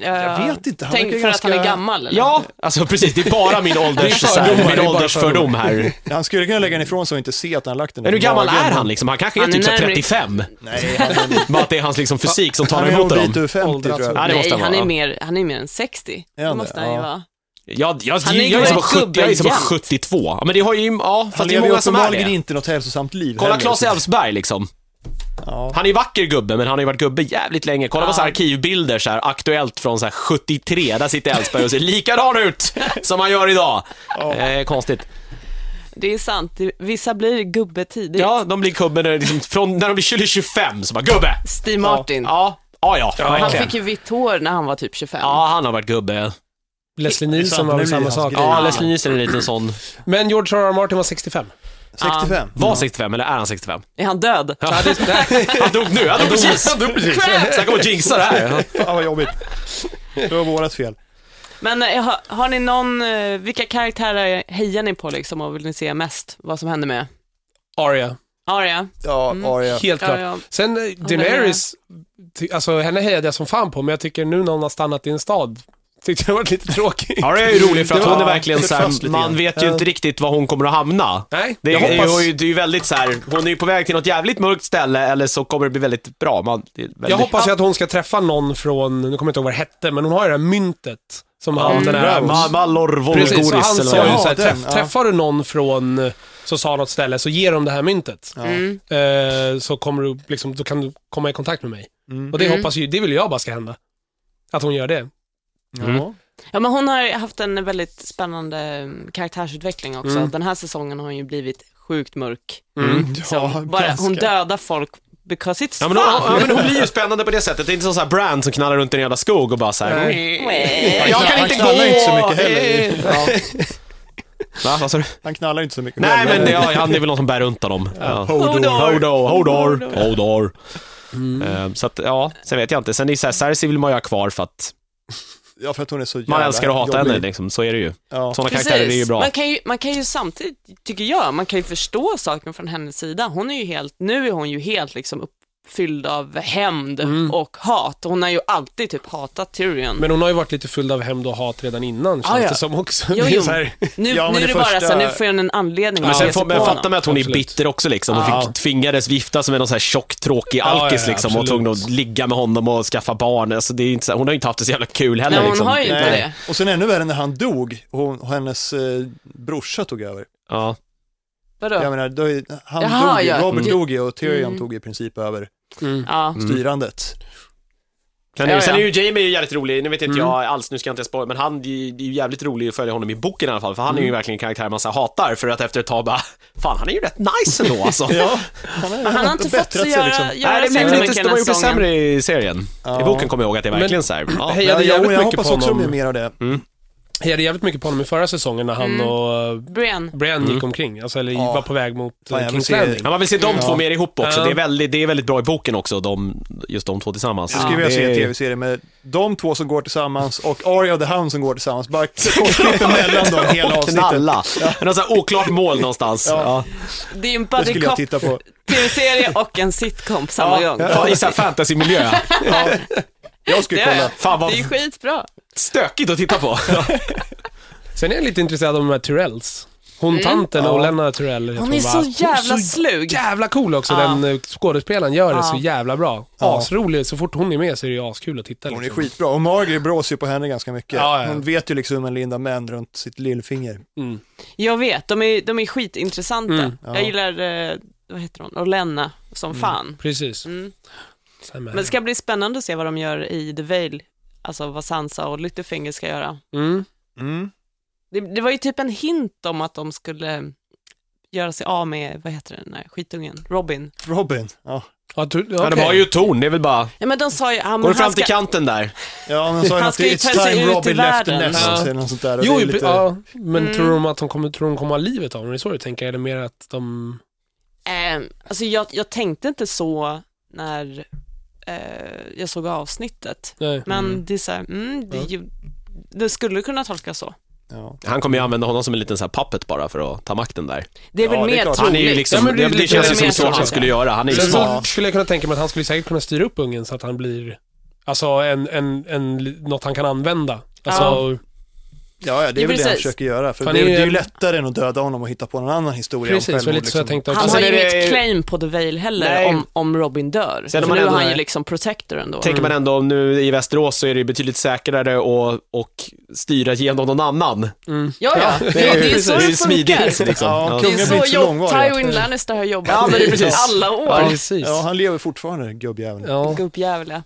A: Jag vet inte, han
D: Eh, Tänk
A: verkar
D: för att
A: ganska-
D: han är gammal eller?
B: Ja, alltså precis. Det är bara min ålders,
E: Det är
B: så här,
E: fördomar, det är
B: min
E: bara
B: åldersfördom här.
A: Han skulle kunna lägga den ifrån sig och inte se att han har lagt den
B: Men hur
A: i
B: gammal
A: magen.
B: är han liksom? Han kanske är
D: Han är
B: typ så här
D: närmare-
B: 35.
A: Nej, han är,
B: Bara att det är hans liksom fysik som
A: han
B: talar
A: är nog
B: emot
A: en bit
B: honom.
A: över 50 tror
E: Åldras.
A: jag.
B: Ja, det måste
D: Nej,
B: han
D: han
B: vara.
D: är, mer, han är mer än 60.
A: Är han
D: det måste
A: det?
D: han ju
A: Ja.
D: vara.
B: Jag, jag,
D: Han är
B: jag,
D: ju
B: jag är som
D: en
B: bara sjut- jag är som bara
D: gubbjämt.
B: 72. Ja, men det har ju, ja,
A: Han
B: fast det är
A: lever ju
B: många som är
A: uppenbarligen
B: det.
A: inte något hälsosamt liv
B: Kolla
A: heller,
B: Claes
A: så-
B: Elfsberg liksom.
A: Ja.
B: Han är ju vacker gubbe, men han har ju varit gubbe jävligt länge. Kolla på
D: Ja.
B: så här arkivbilder så här, aktuellt från så här 73. Där sitter Elfsberg och ser likadan ut som han gör idag. Eh, konstigt.
D: Det är sant. Det- Vissa blir gubbe tidigt.
B: Ja, de blir gubbe när, liksom, från, när de blir 20-25, så bara gubbe.
D: Steve Martin.
B: Ja, ja, ja.
D: Han
B: verkligen.
D: fick ju vitt hår när han var typ 25.
B: Ja, han har varit gubbe.
E: Leslie
A: Det är sant,
E: Nielsen
A: nu
E: var väl
A: blir det
E: samma
A: hans
E: sak.
A: grej.
B: Ja, Leslie Nielsen är en liten sån.
E: Men George R.R. Martin var 65.
A: 65.
B: Var 65, eller är han 65?
D: Är han död?
E: Ja, det,
B: Han dog nu, han dog precis. Han dog precis. Snacka om att jinxa det här.
A: Fan vad jobbigt. Det var vårat fel.
D: Men eh, har, har ni någon, eh, vilka karaktärer hejar ni på liksom och vill ni se mest vad som händer med?
E: Arya,
D: Arya?
A: Ja,
B: Mm.
A: Arya.
E: helt klart.
D: Ja, ja.
E: Sen eh, Daenerys, ty- alltså henne hejade jag som fan på, men jag tycker nu när hon har stannat i en stad Tyckte jag var lite tråkig.
B: Harry är ju rolig för att
A: Det var-
B: hon är verkligen
A: det
B: så
A: fast
B: här,
A: lite
B: man
A: grann.
B: vet ju
A: Ja.
B: inte riktigt var hon kommer att hamna.
E: Nej,
B: Det
E: jag
B: är,
E: hoppas...
B: är ju, det är ju väldigt så här, hon är ju på väg till något jävligt mörkt ställe eller så kommer det bli väldigt bra. Man, det är väldigt...
E: Jag hoppas ju att hon ska träffa någon från, nu kommer jag inte ihåg vad det hette, men hon har ju det här myntet. Som han, den här...
B: Ma- Mallor
E: Mm. Precis,
B: Volgoris
E: så han
B: eller
E: sa
B: vad det
E: ju
B: är.
A: Ja,
E: såhär,
A: den,
E: träff,
A: ja.
E: träffar du någon från, eh, som sa något ställe, så ge dem det här myntet.
A: Ja.
D: Mm.
E: Eh, så kommer du, liksom, då kan du komma i kontakt med mig.
A: Mm.
E: Och det
D: Mm.
E: hoppas ju, det vill jag bara ska hända. Att hon gör det.
B: Mm.
D: Ja, men hon har haft en väldigt spännande mm, karaktärsutveckling också.
E: Mm.
D: Den här säsongen har hon ju blivit sjukt mörk.
E: Mm.
A: Ja,
D: Så bara,
A: ganska.
D: hon dödar folk because it's
B: Ja
D: fun.
B: men, hon, ja men hon blir ju spännande på det sättet. Det är inte som så här Brand som knallar runt i en jävla skog och bara så här.
D: Nej.
B: Eh, Jag
A: Han
B: kan inte
A: knallar
B: gå!
A: inte så mycket heller.
B: Eh. Ja. Va, vad sa du?
A: Han knallar inte så mycket eh,
B: Nej
A: själv,
B: men det- ja, han är väl någon som bär runt honom. Ja.
A: Hodor.
B: Hodor, Hodor, Hodor.
E: Mm.
B: Ehm, Så att, ja, sen vet jag inte. Sen är det så här, Cersei vill man ju ha kvar för att
A: Ja, för att hon är så jävla
B: man älskar att hata
A: jobbig.
B: henne liksom. Så är det ju.
A: Ja.
B: Sådana karaktärer är ju
D: Precis.
B: bra.
D: Man kan ju, man kan ju samtidigt, tycker jag, man kan ju förstå saken från hennes sida. Hon är ju helt, nu är hon ju helt liksom uppfylld av hämnd
B: Mm.
D: och hat. Hon har ju alltid typ hatat Tyrion.
E: Men hon har ju varit lite fylld av hämnd och hat redan innan, känns
D: Ah, ja.
E: det som också.
D: Jo,
E: Det är
D: jo.
E: så här,
D: nu
A: Ja, men
D: nu
A: det
D: är det bara
A: första-
D: så här, nu får jag en anledning
B: Men
D: att
B: sen
D: ge sig
B: får
D: på
B: man fatta
D: honom.
B: med att hon är
E: Absolut.
B: bitter också liksom. Hon
E: Ja.
B: fick, tvingades vifta som en någon så här tjock, tråkig
E: ja,
B: alkis
E: ja,
B: liksom. Och
E: absolut.
B: tvungen att ligga med honom och skaffa barn. Alltså, det är inte så här, hon har ju inte haft det så jävla kul heller
D: Nej, hon
B: liksom.
D: har ju inte
A: Nej.
D: det.
A: Och sen ännu värre när han dog och hon, och hennes eh, brorsa tog över.
B: Ja.
D: Vadå?
A: Jag menar, då, är- han
D: Jaha,
A: dog ju,
D: ja.
A: Robert
D: Mm.
A: dog ju och Tyrion
D: Mm.
A: tog i princip över
E: mm.
D: Ja.
B: Mm.
A: styrandet.
B: Sen, är,
D: Ja, ja.
B: sen är ju Jamie ju jävligt rolig, nu vet inte
E: Mm.
B: jag alls, nu ska jag inte spoila, men han det är ju det är ju jävligt rolig att följa honom i boken i alla fall, för han är ju verkligen en karaktär man så här hatar, för att efter ett tag bara, fan han är ju rätt nice ändå alltså.
A: Ja, han är,
D: Men han har inte fått så göra, göra
B: liksom. Nej, det
D: så
B: blev
D: mycket
B: väl inte,
D: den
B: de har
D: här
B: gjort det
D: säsongen.
B: sämre i serien. I
A: Ja.
B: boken kommer jag ihåg att det är
E: Men-
B: verkligen så här, ja.
E: Hej,
A: jag,
E: hejade
A: jag,
E: jävligt
A: jag
E: mycket
A: hoppas
E: på
A: också de gör
E: honom.
A: mer av det.
E: Hejade jävligt mycket på honom i förra säsongen när han
D: Mm.
E: och eh,
D: Brian.
E: Brian gick omkring, alltså, eller
A: Ja.
E: var på väg mot
A: Mm. Ah. Fan,
E: eh, Fan,
A: jag vill
E: Kings
A: se-
E: Landing.
B: Ja, man vill se de två mer ihop också.
E: Ja.
B: Det, är väldigt, det är väldigt bra i boken också, de, just de två tillsammans.
A: Jag skulle vilja se
B: det
A: en
B: är-
A: tv-serie med de två som går tillsammans och Arya och The Hound som går tillsammans. Bara kortklipp mellan dem hela
B: Och
A: avsnittet.
B: knalla. Något sånt här oklart mål någonstans. Ja.
D: Det är ju en
A: Det skulle jag titta
D: buddy
A: på.
D: tv-serie och en sitcom på samma gång.
B: Fan, I sån här fantasymiljö.
A: Jag
D: Det
A: skulle
D: är,
A: kolla.
B: Fan vad
D: det är ju skitbra.
B: stökigt att titta på.
E: Sen är jag lite intresserad av de här Tyrells. Hon tanten
A: Ja.
E: och Lennart Tyrell. heter
D: Mm. Hon är
E: va?
D: så jävla
E: Hon är
D: slug. Ah.
E: jävla cool också,
D: Ja.
E: den eh, skådespelaren gör det
D: Ja.
E: så jävla bra.
A: Ja.
E: Asrolig, så fort hon är med så är det ju askul att titta.
A: Ah. Hon är
E: liksom.
A: skitbra och Margaret brås ju på henne ganska mycket.
E: Ja, ja.
A: Hon vet ju liksom en Linda Mann runt sitt lillfinger.
E: Mm.
D: Jag vet, de är, de är skitintressanta.
E: Mm,
A: ja.
D: Jag gillar, eh, vad heter hon, Orlenna som fan.
E: Precis.
D: Mm.
E: Sen är
D: Men det ska bli spännande att se vad de gör i The Veil, alltså vad Sansa och Littlefinger ska göra.
E: Mm.
A: Mm.
D: Det, det var ju typ en hint om att de skulle göra sig av med, vad heter den där skitungen, Robin.
A: Robin, ja.
E: Ja, tu-
B: Ja, de
E: okej.
B: har ju torn, det är väl bara...
D: Ja men de sa ju, han,
B: Går du fram
D: han
B: till
D: ska,
B: kanten där?
A: Ja, men så är
D: Han
A: han
D: ska ju ta
A: It's
D: sig
A: time
D: ut i
A: Robin left the
D: världen."
A: nest,
E: Ja.
A: eller något sånt där. Och
E: Jo,
A: det är
E: lite... ja, men
D: Mm.
E: tror de att hon kommer, tror de kommer ha livet av honom? Är det så du tänker? Eller mer att de...
D: eh, alltså jag, jag tänkte inte så när eh, jag såg avsnittet.
E: Nej.
D: Men det är så här, mm, det, är ju, det skulle kunna tolkas så.
A: Ja.
B: Han kommer ju använda honom som en liten så här puppet bara för att ta makten där.
D: Det är
A: Ja,
D: väl
A: det är
D: mer
A: klart.
B: Han är ju
D: troligt.
B: liksom,
E: Ja, men det
B: det,
E: är
B: det,
E: lite-
B: känns ju
D: det är
B: som så
D: mer
B: han
D: troligt.
B: skulle göra. Han är ju
E: Sen
B: smart.
E: så skulle jag kunna tänka mig att han skulle säkert kunna styra upp ungen så att han blir, alltså en, en, en, något han kan använda. Alltså,
D: Ja.
A: Ja, ja, det är
D: Jo,
A: väl det han
D: precis.
A: försöker göra. För
E: Fan,
A: det, är,
E: det är ju-
A: det är ju lättare än att döda honom och hitta på någon annan historia
E: precis, det
A: om
E: var
A: självmord. liksom.
E: lite så jag tänkte också.
D: Han har
B: Sen
D: ju
B: är Alltså, det-
D: inget claim på The Veil heller
B: Nej.
D: om, om Robin dör.
B: Sen
D: För
B: om man
D: nu är
B: ändå
D: han
B: är-
D: ju liksom protector ändå. Mm.
B: Tänker man ändå, nu i Västerås så är det ju betydligt säkrare att och styra genom någon annan.
E: Mm.
D: Ja, ja. Det, det är ju så
B: det
D: det
B: smidigt
D: funkar.
B: liksom.
A: Ja,
B: Ja.
D: Det
A: kungen
D: är
A: blir inte
D: så
A: så
D: jobb,
A: långvarig.
D: Tywin Lannister har jobbat
B: Ja, men det är
D: i
B: precis.
D: alla
E: Ja,
D: år.
E: precis.
A: Ja, han lever fortfarande, gubbjäveln. Ja.
E: Ja.
D: Gubbjävliga.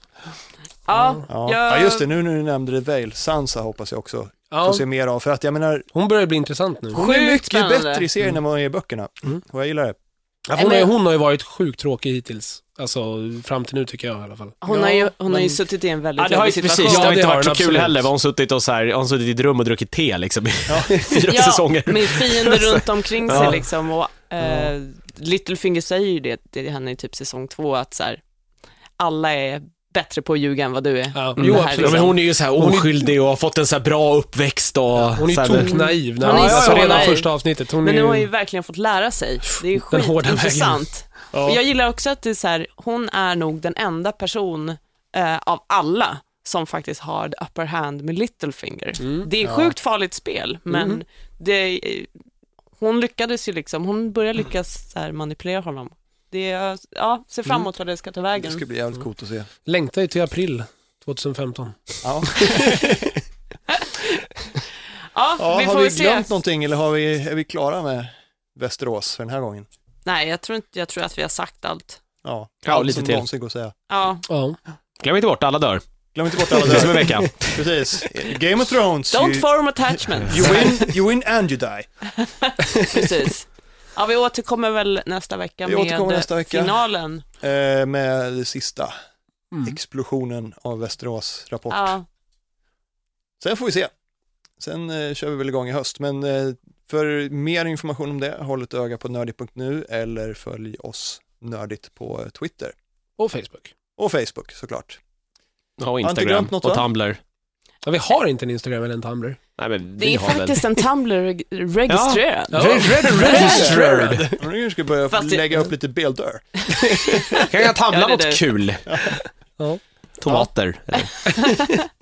D: Ja,
A: Ja.
D: jag-
A: just det, nu när du nämnde det väl, Sansa hoppas jag också
E: Ja.
A: får se mer av. För att jag menar,
E: Hon börjar bli intressant nu.
A: hon är
D: Sjukt
A: mycket
D: spännande.
A: bättre i serien än vad hon är i böckerna. Och jag gillar det.
E: Ja, för hon, är, hon har ju varit sjukt tråkig hittills. Alltså fram till nu tycker jag i alla fall.
D: Hon, har ju, hon har ju
A: men-
D: suttit i en väldigt
B: Ja, det har ju
D: jobbig situation.
B: precis, det har
E: Ja,
B: inte
E: det har
B: varit så
E: den,
B: kul
E: absolut.
B: heller. Hon har suttit, och så här, hon har suttit i ett rum och druckit te liksom i fyra säsonger.
D: med fiender runt omkring sig
B: Ja.
D: liksom. Och, eh, Littlefinger säger ju det till henne i typ säsong två, att så här, alla är bättre på att ljuga än vad du är.
E: Ja,
D: Mm.
E: jo,
D: Det här
E: absolut.
B: Ja, men hon är ju så här
E: är-
B: oskyldig och har fått en så här bra uppväxt och...
E: Hon är
B: så
E: ju
B: här,
E: toknaiv. när-
D: Hon är
E: Ja, ja,
D: så
E: ja, redan
D: naiv.
E: första avsnittet. Hon
D: Men
E: är
D: nu har hon ju
E: ju...
D: verkligen fått lära sig. Det är ju
E: Den hårda vägen.
D: skitintressant. Och jag gillar också att det är så här, hon är nog den enda person eh, av alla som faktiskt har the upper hand med Littlefinger.
E: Mm.
D: Det är
A: Ja.
D: sjukt farligt spel, men
E: Mm.
D: det, hon lyckades ju liksom, hon började lyckas så här manipulera honom. Det, är- ja, ser fram emot vad det ska ta
A: Det
D: vägen.
A: ska bli jävligt coolt att se.
E: Längtar ju till april 2015.
A: Ja.
D: Ja,
A: Ja,
D: vi
A: har
D: får
A: vi
D: väl se.
A: glömt någonting eller har vi, är vi klara med Västerås för den här gången?
D: Nej, jag tror, inte, jag tror att vi har sagt allt.
A: Ja,
B: Ja,
A: allt
B: lite
A: som
B: till.
A: någonsin går att säga.
D: Ja,
E: Ja.
B: Glöm inte bort, alla dör.
A: Glöm inte bort alla
B: Det är som en
A: där.
B: vecka.
A: Precis. Game of Thrones.
D: don't
A: you,
D: form attachments.
A: you, win, you win and you die.
D: Precis. Ja, vi återkommer väl nästa vecka
A: Vi
D: med
A: återkommer nästa vecka.
D: finalen.
A: Eh, med det sista,
E: Mm.
A: explosionen av Västerås rapport.
D: Ja,
A: Sen får vi se. Sen eh, kör vi väl igång i höst, men eh, för mer information om det, håll ett öga på nördigt.nu eller följ oss nördigt på Twitter
E: Och Facebook.
A: och Facebook såklart.
B: Och
A: inte
B: Instagram
A: glömt något,
B: och
A: va?
B: Tumblr.
E: Ja, vi har inte en Instagram eller en Tumblr.
B: Nej, men
D: det
B: vi
D: är
B: har väl...
D: faktiskt en Tumblr reg- registrerad.
E: Ja.
B: Registered!
A: Undrar om vi ska börja
D: Fast det-
A: lägga upp lite bilder.
B: Kan jag tumla
D: Ja, det är
B: något
D: du.
B: kul?
E: Ja.
B: Tomater.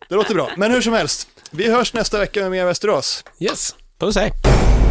A: Det låter bra, men hur som helst, vi hörs nästa vecka med mer Västerås.
E: Yes.
B: Puss hej.